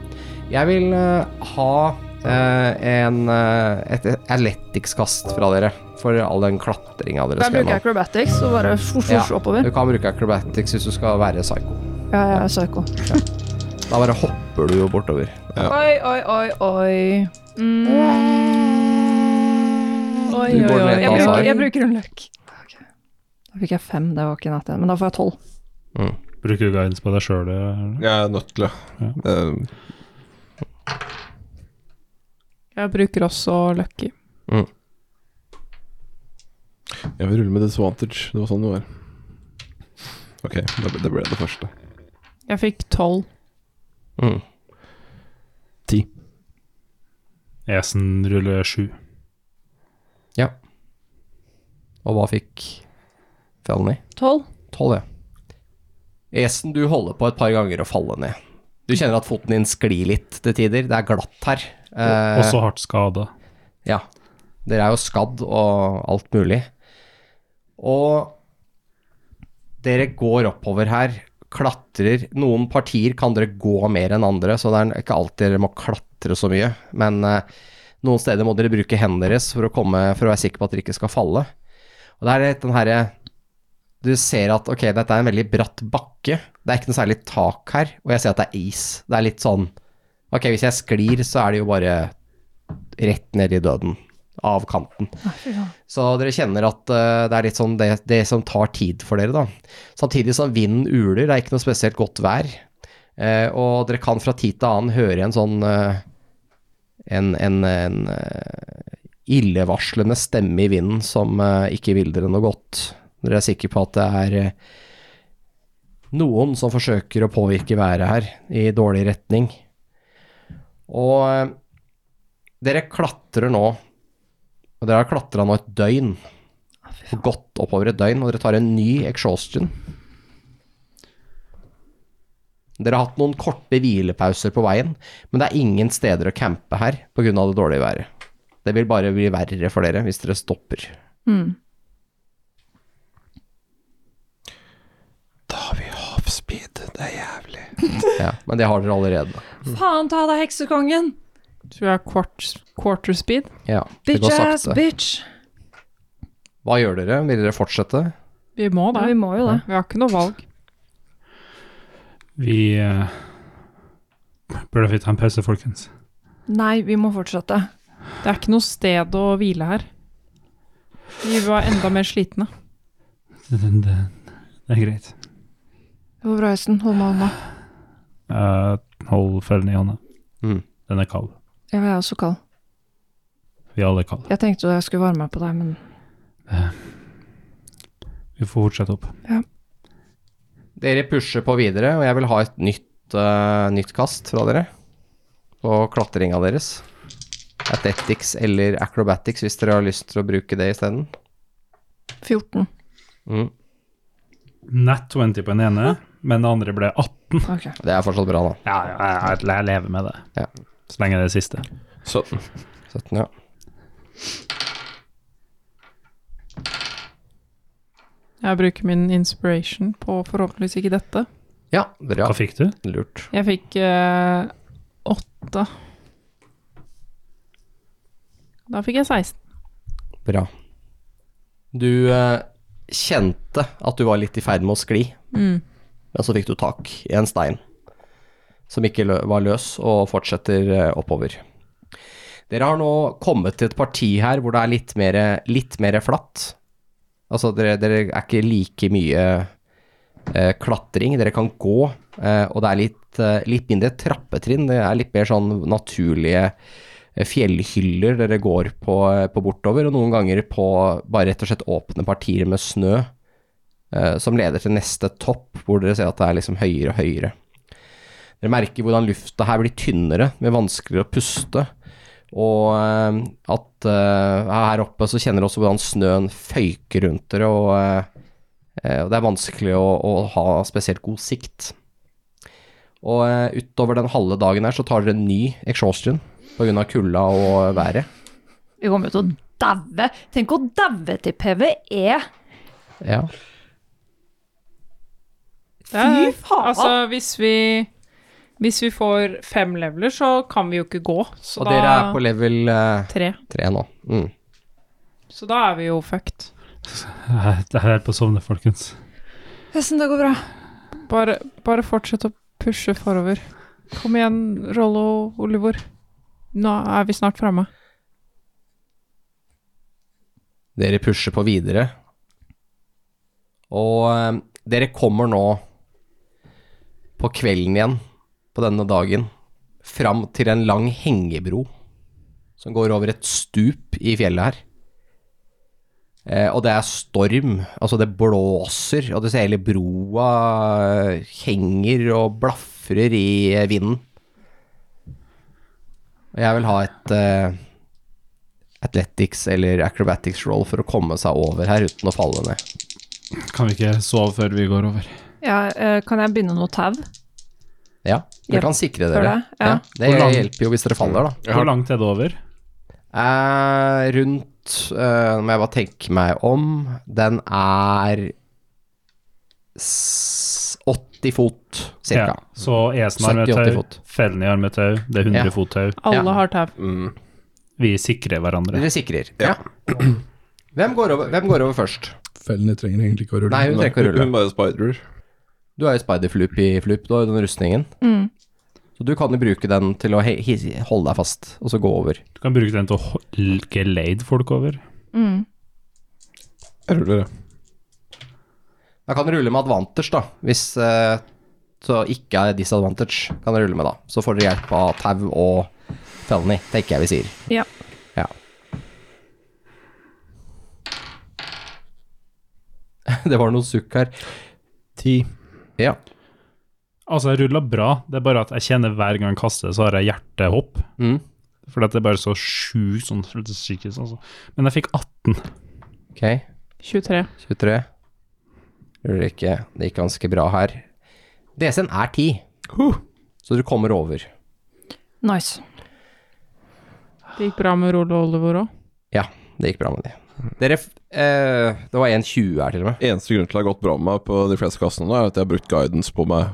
Jeg vil eh, ha eh, en, eh, et athletics-kast fra dere for all den klatringa dere Jeg skal bruker gjennom. acrobatics og bare fort, Ja. fort oppover. Du kan bruke acrobatics hvis du skal være psycho. Ja, jeg er psycho. Da bare hopper du jo bortover. Oi, oi, oi, oi. Mm. Oi, Du går oi, ned oi. et Jeg ansvar. bruker, jeg bruker en løk. Ok. Da fikk jeg fem, det var ikke natt igjen. Men da får jeg tolv. Bruker du guidance på deg sjøl? eller? Jeg er nødt til det. Eh, Jeg bruker også Lucky. Jeg vil rulle med disadvantage. Det var sånn det var. Ok, det ble det, ble det første. Jeg fikk tolv. Mm. Esen ruller sju. Og hva fikk Felny? Tolv? Tolv, ja. Esen, du holder på et par ganger å falle ned. Du kjenner at foten din sklir litt til tider. Det er glatt her. Eh, Og så hardt skada. Ja. Dere er jo skadd og alt mulig. Og dere går oppover her, klatrer. Noen partier kan dere gå mer enn andre, så det er ikke alltid dere må klatre så mye. Men eh, noen steder må dere bruke hendene deres for å, komme, for å være sikker på at dere ikke skal falle. Og det er litt den herre Du ser at ok, dette er en veldig bratt bakke. Det er ikke noe særlig tak her, og jeg ser at det er is. Det er litt sånn Ok, hvis jeg sklir, så er det jo bare rett ned i døden av kanten. Så dere kjenner at eh, det er litt sånn det, det som tar tid for dere, da. Samtidig som vinden uler, det er ikke noe spesielt godt vær. Eh, og dere kan fra tid til annen høre en sånn eh, en, en, en eh, illevarslende stemme i vinden som eh, ikke vil dere noe godt. Dere er sikre på at det er eh, noen som forsøker å påvirke været her i dårlig retning. Og eh, dere klatrer nå, og dere har klatra nå et døgn. Og Gått oppover et døgn, og dere tar en ny exhaustion. Dere har hatt noen korte hvilepauser på veien, men det er ingen steder å campe her pga. det dårlige været. Det vil bare bli verre for dere hvis dere stopper. Mm. Da har vi havspeed. Det er jævlig. (laughs) Ja, men det har dere allerede. Faen ta deg, heksekongen! Tror jeg er quarter, quarter speed. Ja, det Bitch går ass sakte. bitch! Hva gjør dere? Vil dere fortsette? Vi må Ja, det. vi må jo det. Vi har ikke noe valg. Vi eh, burde vi ta en pause, folkens? Nei, vi må fortsette. Det er ikke noe sted å hvile her. Vi var enda mer slitne. Det, det, det, det er greit. Det var bra, Øystein. Hold meg hånda. Eh, hold følgen i hånda. Mm. Den er kald. Jeg er også kald. Vi alle er kalde. Jeg tenkte jeg skulle varme meg på deg, men Vi får fortsette opp. Dere pusher på videre, og jeg vil ha et nytt, eh, nytt kast fra dere. På klatringa deres. Athletics eller acrobatics, hvis dere har lyst til å bruke det isteden. 14. Mm. Nat 20 på den ene, men den andre ble 18. Ok. Det er fortsatt bra, da. Ja, ja, jeg, jeg lever med det. Ja. Så lenge det er det siste. 17. 17, ja. Jeg bruker min inspiration på forhåpentligvis ikke dette. Ja, bra. Hva fikk du? Lurt. Jeg fikk eh, åtte. Da fikk jeg 16. Bra. Du eh, kjente at du var litt i ferd med å skli, Mm. men så fikk du tak i en stein som ikke lø var løs, og fortsetter eh, oppover. Dere har nå kommet til et parti her hvor det er litt mer, litt mer flatt. Altså, dere, dere er ikke like mye eh, klatring. Dere kan gå, eh, og det er litt, eh, litt mindre trappetrinn. Det er litt mer sånn naturlige eh, fjellhyller dere går på, eh, på bortover, og noen ganger på bare rett og slett åpne partier med snø, eh, som leder til neste topp, hvor dere ser at det er liksom høyere og høyere. Dere merker hvordan lufta her blir tynnere, med vanskeligere å puste. Og eh, at eh, her oppe så kjenner dere også hvordan snøen føyker rundt dere, og, eh, eh, og det er vanskelig å, å ha spesielt god sikt. Og eh, utover den halve dagen her så tar dere en ny exhaustion pga. kulda og været. Vi kommer jo til å daue. Tenk å daue til E. PVE! Ja. Det er- Fy faen! Altså, hvis vi Hvis vi får fem leveler, så kan vi jo ikke gå. Så Og da dere er på level eh, tre. tre nå. Mm. Så da er vi jo fucked. Jeg jeg er Eh, på å sovne, folkens. Hesten, det går bra. Bare, bare fortsett å pushe forover. Kom igjen, Rollo og Olivor. Nå er vi snart framme. Dere pusher på videre. Og eh, dere kommer nå på kvelden igjen på denne dagen fram til en lang hengebro som går over et stup i fjellet her. Eh, og det er storm, altså det blåser, og du ser hele broa eh, henger og blafrer i eh, vinden. Og jeg vil ha et eh, athletics eller acrobatics roll for å komme seg over her uten å falle ned. Kan vi ikke sove før vi går over? Ja, eh, kan jeg binde noe tau? Ja, dere Ja, kan sikre gjør dere. det, ja. det Hvor lang- hjelper jo hvis dere faller, da. Hvor langt er det over? Eh, rundt eh, Nå må jeg bare tenke meg om. Den er s 80 fot, Ja, cirka. Så esen har med 70-80 tau, fot. fellen i har med tau, det er 100 Ja. fot tau. Alle Ja. har tau. Vi sikrer hverandre. Dere sikrer. Ja. Hvem, går over, hvem går over først? Fellene trenger egentlig ikke å rulle. Nei, hun trenger ikke å rulle. Hun bare spiderer. Du er jo spiderfloop i floop, du har jo den rustningen. Mm. Så du kan jo bruke den til å he hi- holde deg fast, og så gå over. Du kan bruke den til å hol- geleide folk over. Mm. Jeg ruller, jeg. Da kan du rulle med advantage, da. Hvis eh, så ikke er disadvantage, kan du rulle med, da. Så får dere hjelp av tau og felny, tenker jeg vi sier. Ja. ja. (laughs) Det var noe sukk her. Ti. Ja. Altså, jeg ruller bra, det er bare at jeg kjenner hver gang jeg kaster, så har jeg hjertehopp. Mm. Fordi at det er bare så sjukt sånn psykisk, altså. Men jeg fikk 18. Ok, 23. 23. Ruller ikke. Det gikk ganske bra her. DC-en er 10, så du kommer over. Nice. Det gikk bra med Rol og Oliver òg. Ja, det gikk bra med de. Dere f- eh, Det var 1,20 her, til og med. Eneste grunn til det har gått bra med meg på de fleste kassene, nå, er at jeg har brukt guidance på meg.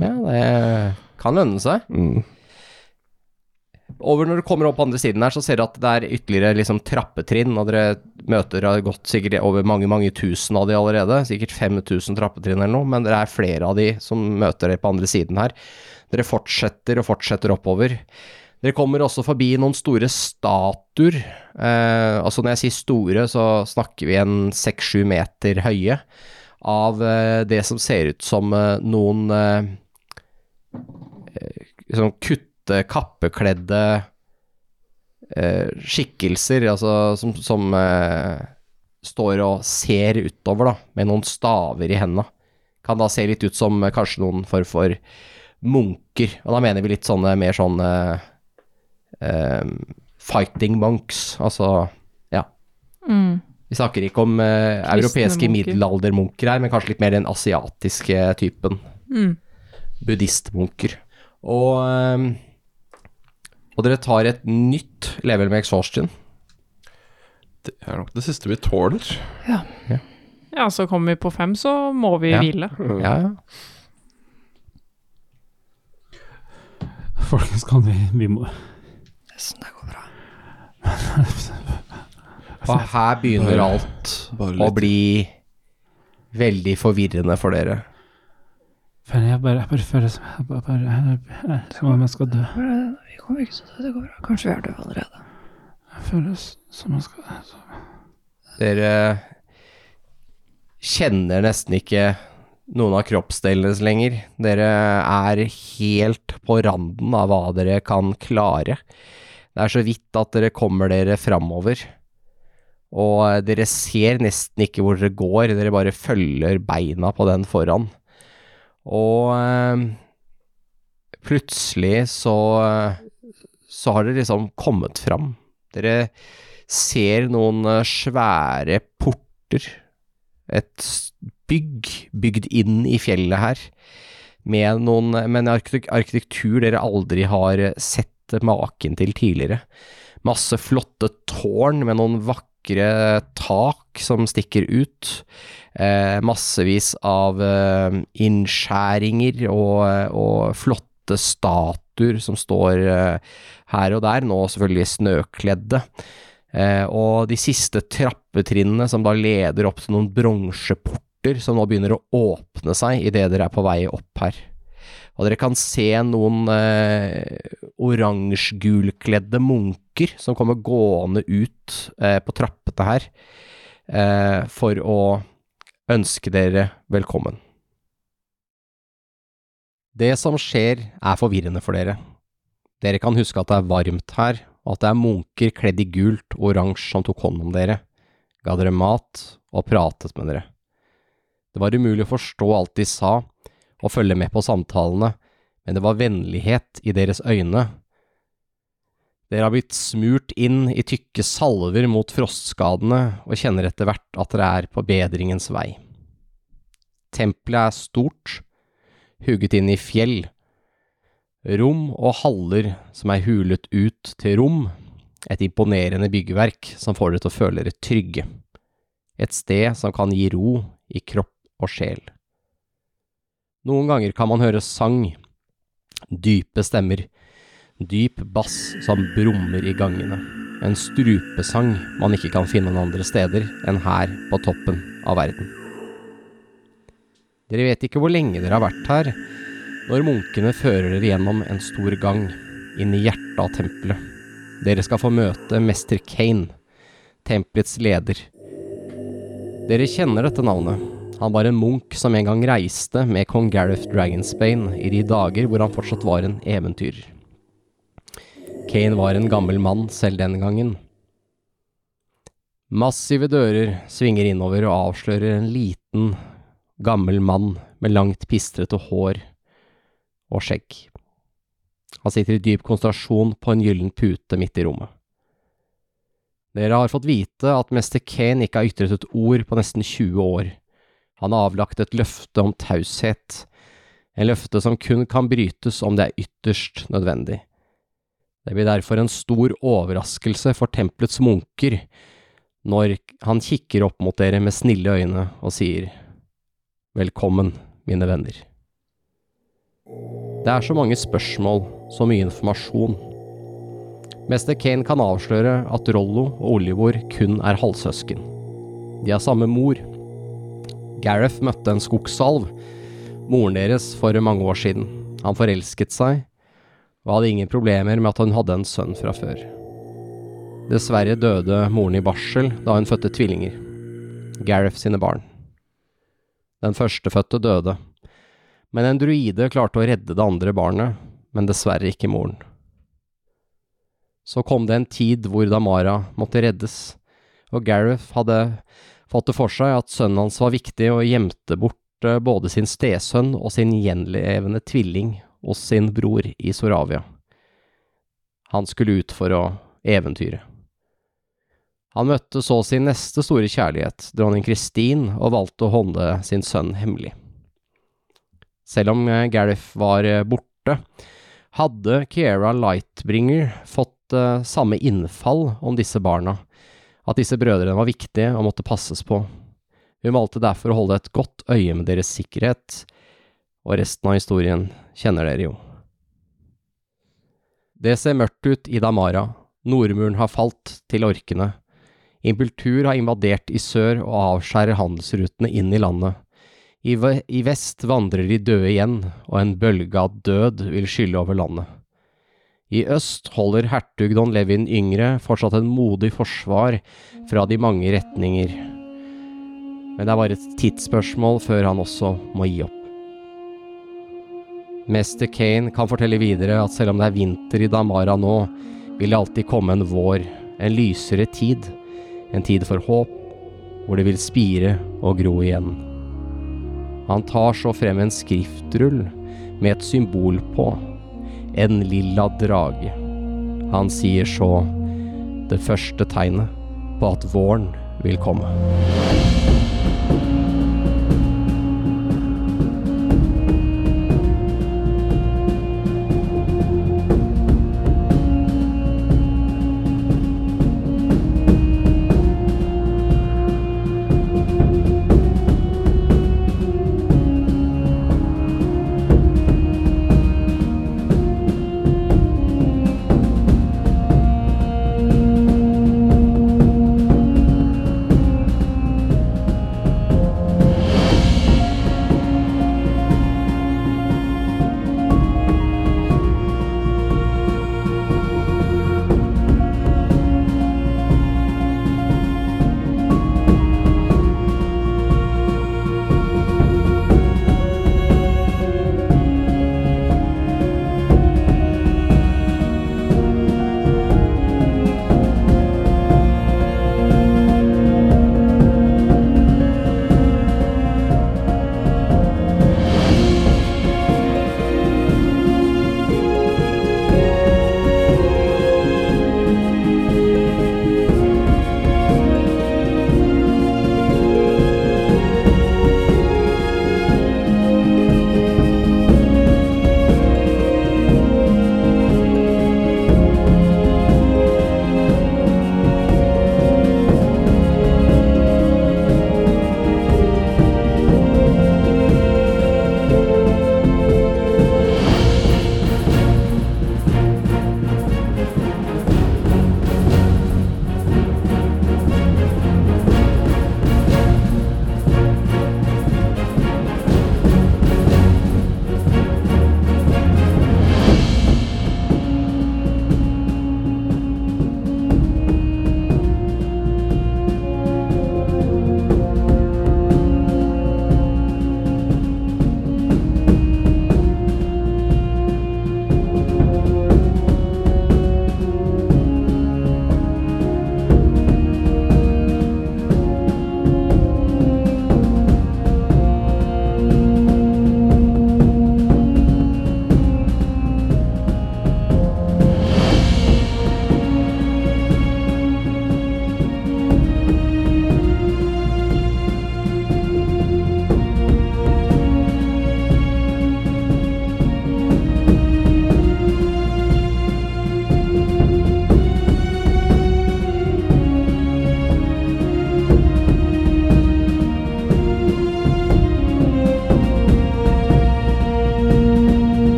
Ja, det kan lønne seg. Mm. Over når du kommer opp på andre siden her, så ser du at det er ytterligere liksom trappetrinn, og dere møter har gått sikkert over mange, mange tusen av de allerede. Sikkert 5000 trappetrinn eller noe, men det er flere av de som møter dere på andre siden her. Dere fortsetter og fortsetter oppover. Dere kommer også forbi noen store statuer. Eh, altså når jeg sier store, så snakker vi en seks-sju meter høye av eh, det som ser ut som eh, noen eh, sånn kutte, kappekledde eh, skikkelser, altså som, som eh, står og ser utover, da, med noen staver i henda. Kan da se litt ut som eh, kanskje noen form for munker, og da mener vi litt sånne mer sånn eh, eh, fighting monks, altså ja. Mm. Vi snakker ikke om eh, Kristne europeiske munker. middelaldermunker her, men kanskje litt mer den asiatiske typen Mm. buddhistmunker. Og, ehm, og dere tar et nytt level med exhaustion. Det er nok det siste vi tåler. Ja, så kommer vi på fem, så må vi Ja. hvile. Ja, ja. Folkens, kan vi Vi må Og her begynner alt Bare å litt. bli veldig forvirrende for dere. Fanny, jeg bare, jeg bare føler som jeg bare, bare, jeg, jeg, Som om jeg skal dø. Vi kommer ikke til å dø, det går bra. Kanskje vi er døde allerede. Jeg føler s- som jeg skal Dere kjenner nesten ikke noen av kroppsdelene deres lenger. Dere er helt på randen av hva dere kan klare. Det er så vidt at dere kommer dere framover. Og dere ser nesten ikke hvor dere går, dere bare følger beina på den foran. Og eh, plutselig så så har dere liksom kommet fram. Dere ser noen eh, svære porter. Et s- bygg bygd inn i fjellet her, med, noen, med en arkite- arkitektur dere aldri har eh, sett maken til tidligere. Masse flotte tårn med noen vakre tak som stikker ut. Eh, massevis av eh, innskjæringer og, og flotte statuer som står eh, her og der, nå selvfølgelig snøkledde. Eh, og de siste trappetrinnene som da leder opp til noen bronseporter som nå begynner å åpne seg idet dere er på vei opp her. Og dere kan se noen eh, oransjegulkledde munker som kommer gående ut eh, på trappene her eh, for å ønske dere velkommen. Det som skjer er forvirrende for dere. Dere kan huske at det er varmt her, og at det er munker kledd i gult og oransje som tok hånd om dere, ga dere mat og pratet med dere. Det var umulig å forstå alt de sa og følge med på samtalene, men det var vennlighet i deres øyne. Dere har blitt smurt inn i tykke salver mot frostskadene og kjenner etter hvert at dere er på bedringens vei. Tempelet er stort, hugget inn i fjell. Rom og haller som er hulet ut til rom. Et imponerende byggverk som får dere til å føle dere trygge. Et sted som kan gi ro i kropp og sjel. Noen ganger kan man høre sang. Dype stemmer. Dyp bass som brummer i gangene. En strupesang man ikke kan finne noen andre steder enn her på toppen av verden. Dere vet ikke hvor lenge dere har vært her, når munkene fører dere gjennom en stor gang, inn i hjertet av tempelet. Dere skal få møte Mester Kane, tempelets leder. Dere kjenner dette navnet. Han var en munk som en gang reiste med kong Gareth Dragonsbane i de dager hvor han fortsatt var en eventyrer. Kane var en gammel mann selv den gangen. Massive dører svinger innover og avslører en liten, gammel mann med langt pistrete hår og skjegg. Han sitter i dyp konsentrasjon på en gyllen pute midt i rommet. Dere har fått vite at mester Kane ikke har ytret et ord på nesten 20 år. Han har avlagt et løfte om taushet, en løfte som kun kan brytes om det er ytterst nødvendig. Det blir derfor en stor overraskelse for tempelets munker når han kikker opp mot dere med snille øyne og sier Velkommen, mine venner. Det er så mange spørsmål, så mye informasjon. Mester Kane kan avsløre at Rollo og Olivor kun er halvsøsken. De har samme mor. Gareth møtte en skogsalv, moren deres, for mange år siden. Han forelsket seg, og hadde ingen problemer med at hun hadde en sønn fra før. Dessverre døde moren i barsel da hun fødte tvillinger, Gareth sine barn. Den førstefødte døde, men en druide klarte å redde det andre barnet, men dessverre ikke moren. Så kom det en tid hvor Damara måtte reddes, og Gareth hadde fått det for seg at sønnen hans var viktig og gjemte bort eh, både sin stesønn og sin gjenlevende tvilling hos sin bror i Soravia. Han skulle ut for å eventyre. Han møtte så sin neste store kjærlighet, dronning Kristin, og valgte å holde sin sønn hemmelig. Selv om eh, Gareth var eh, borte, hadde Kiera Lightbringer fått eh, samme innfall om disse barna, at disse brødrene var viktige og måtte passes på. Hun valgte derfor å holde et godt øye med deres sikkerhet, og resten av historien kjenner dere jo. Det ser mørkt ut i Damara. Nordmuren har falt til orkene. Impultur har invadert i sør og avskjærer handelsrutene inn i landet. I, ve I vest vandrer de døde igjen, og en bølge av død vil skylle over landet. I øst holder hertug don Levin yngre fortsatt en modig forsvar fra de mange retninger. Men det er bare et tidsspørsmål før han også må gi opp. Mester Kane kan fortelle videre at selv om det er vinter i Damara nå, vil det alltid komme en vår, en lysere tid, en tid for håp, hvor det vil spire og gro igjen. Han tar så frem en skriftrull med et symbol på, en lilla drage. Han sier så det første tegnet på at våren vil komme.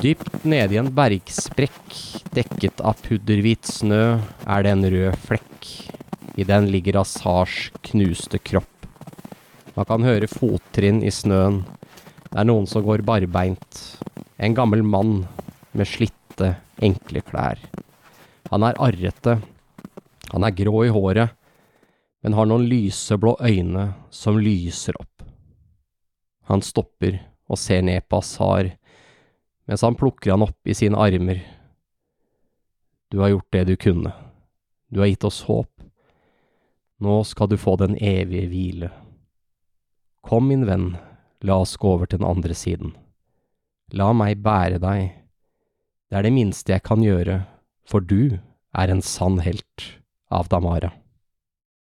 Dypt nede i en bergsprekk, dekket av pudderhvit snø, er det en rød flekk. I den ligger Asars knuste kropp. Man kan høre fottrinn i snøen. Det er noen som går barbeint. En gammel mann med slitte, enkle klær. Han er arrete. Han er grå i håret, men har noen lyseblå øyne som lyser opp. Han stopper og ser ned på Asar, mens han plukker han opp i sine armer. Du har gjort det du kunne. Du har gitt oss håp. Nå skal du få den evige hvile. Kom, min venn, la oss gå over til den andre siden. La meg bære deg. Det er det minste jeg kan gjøre, for du er en sann helt av Damara.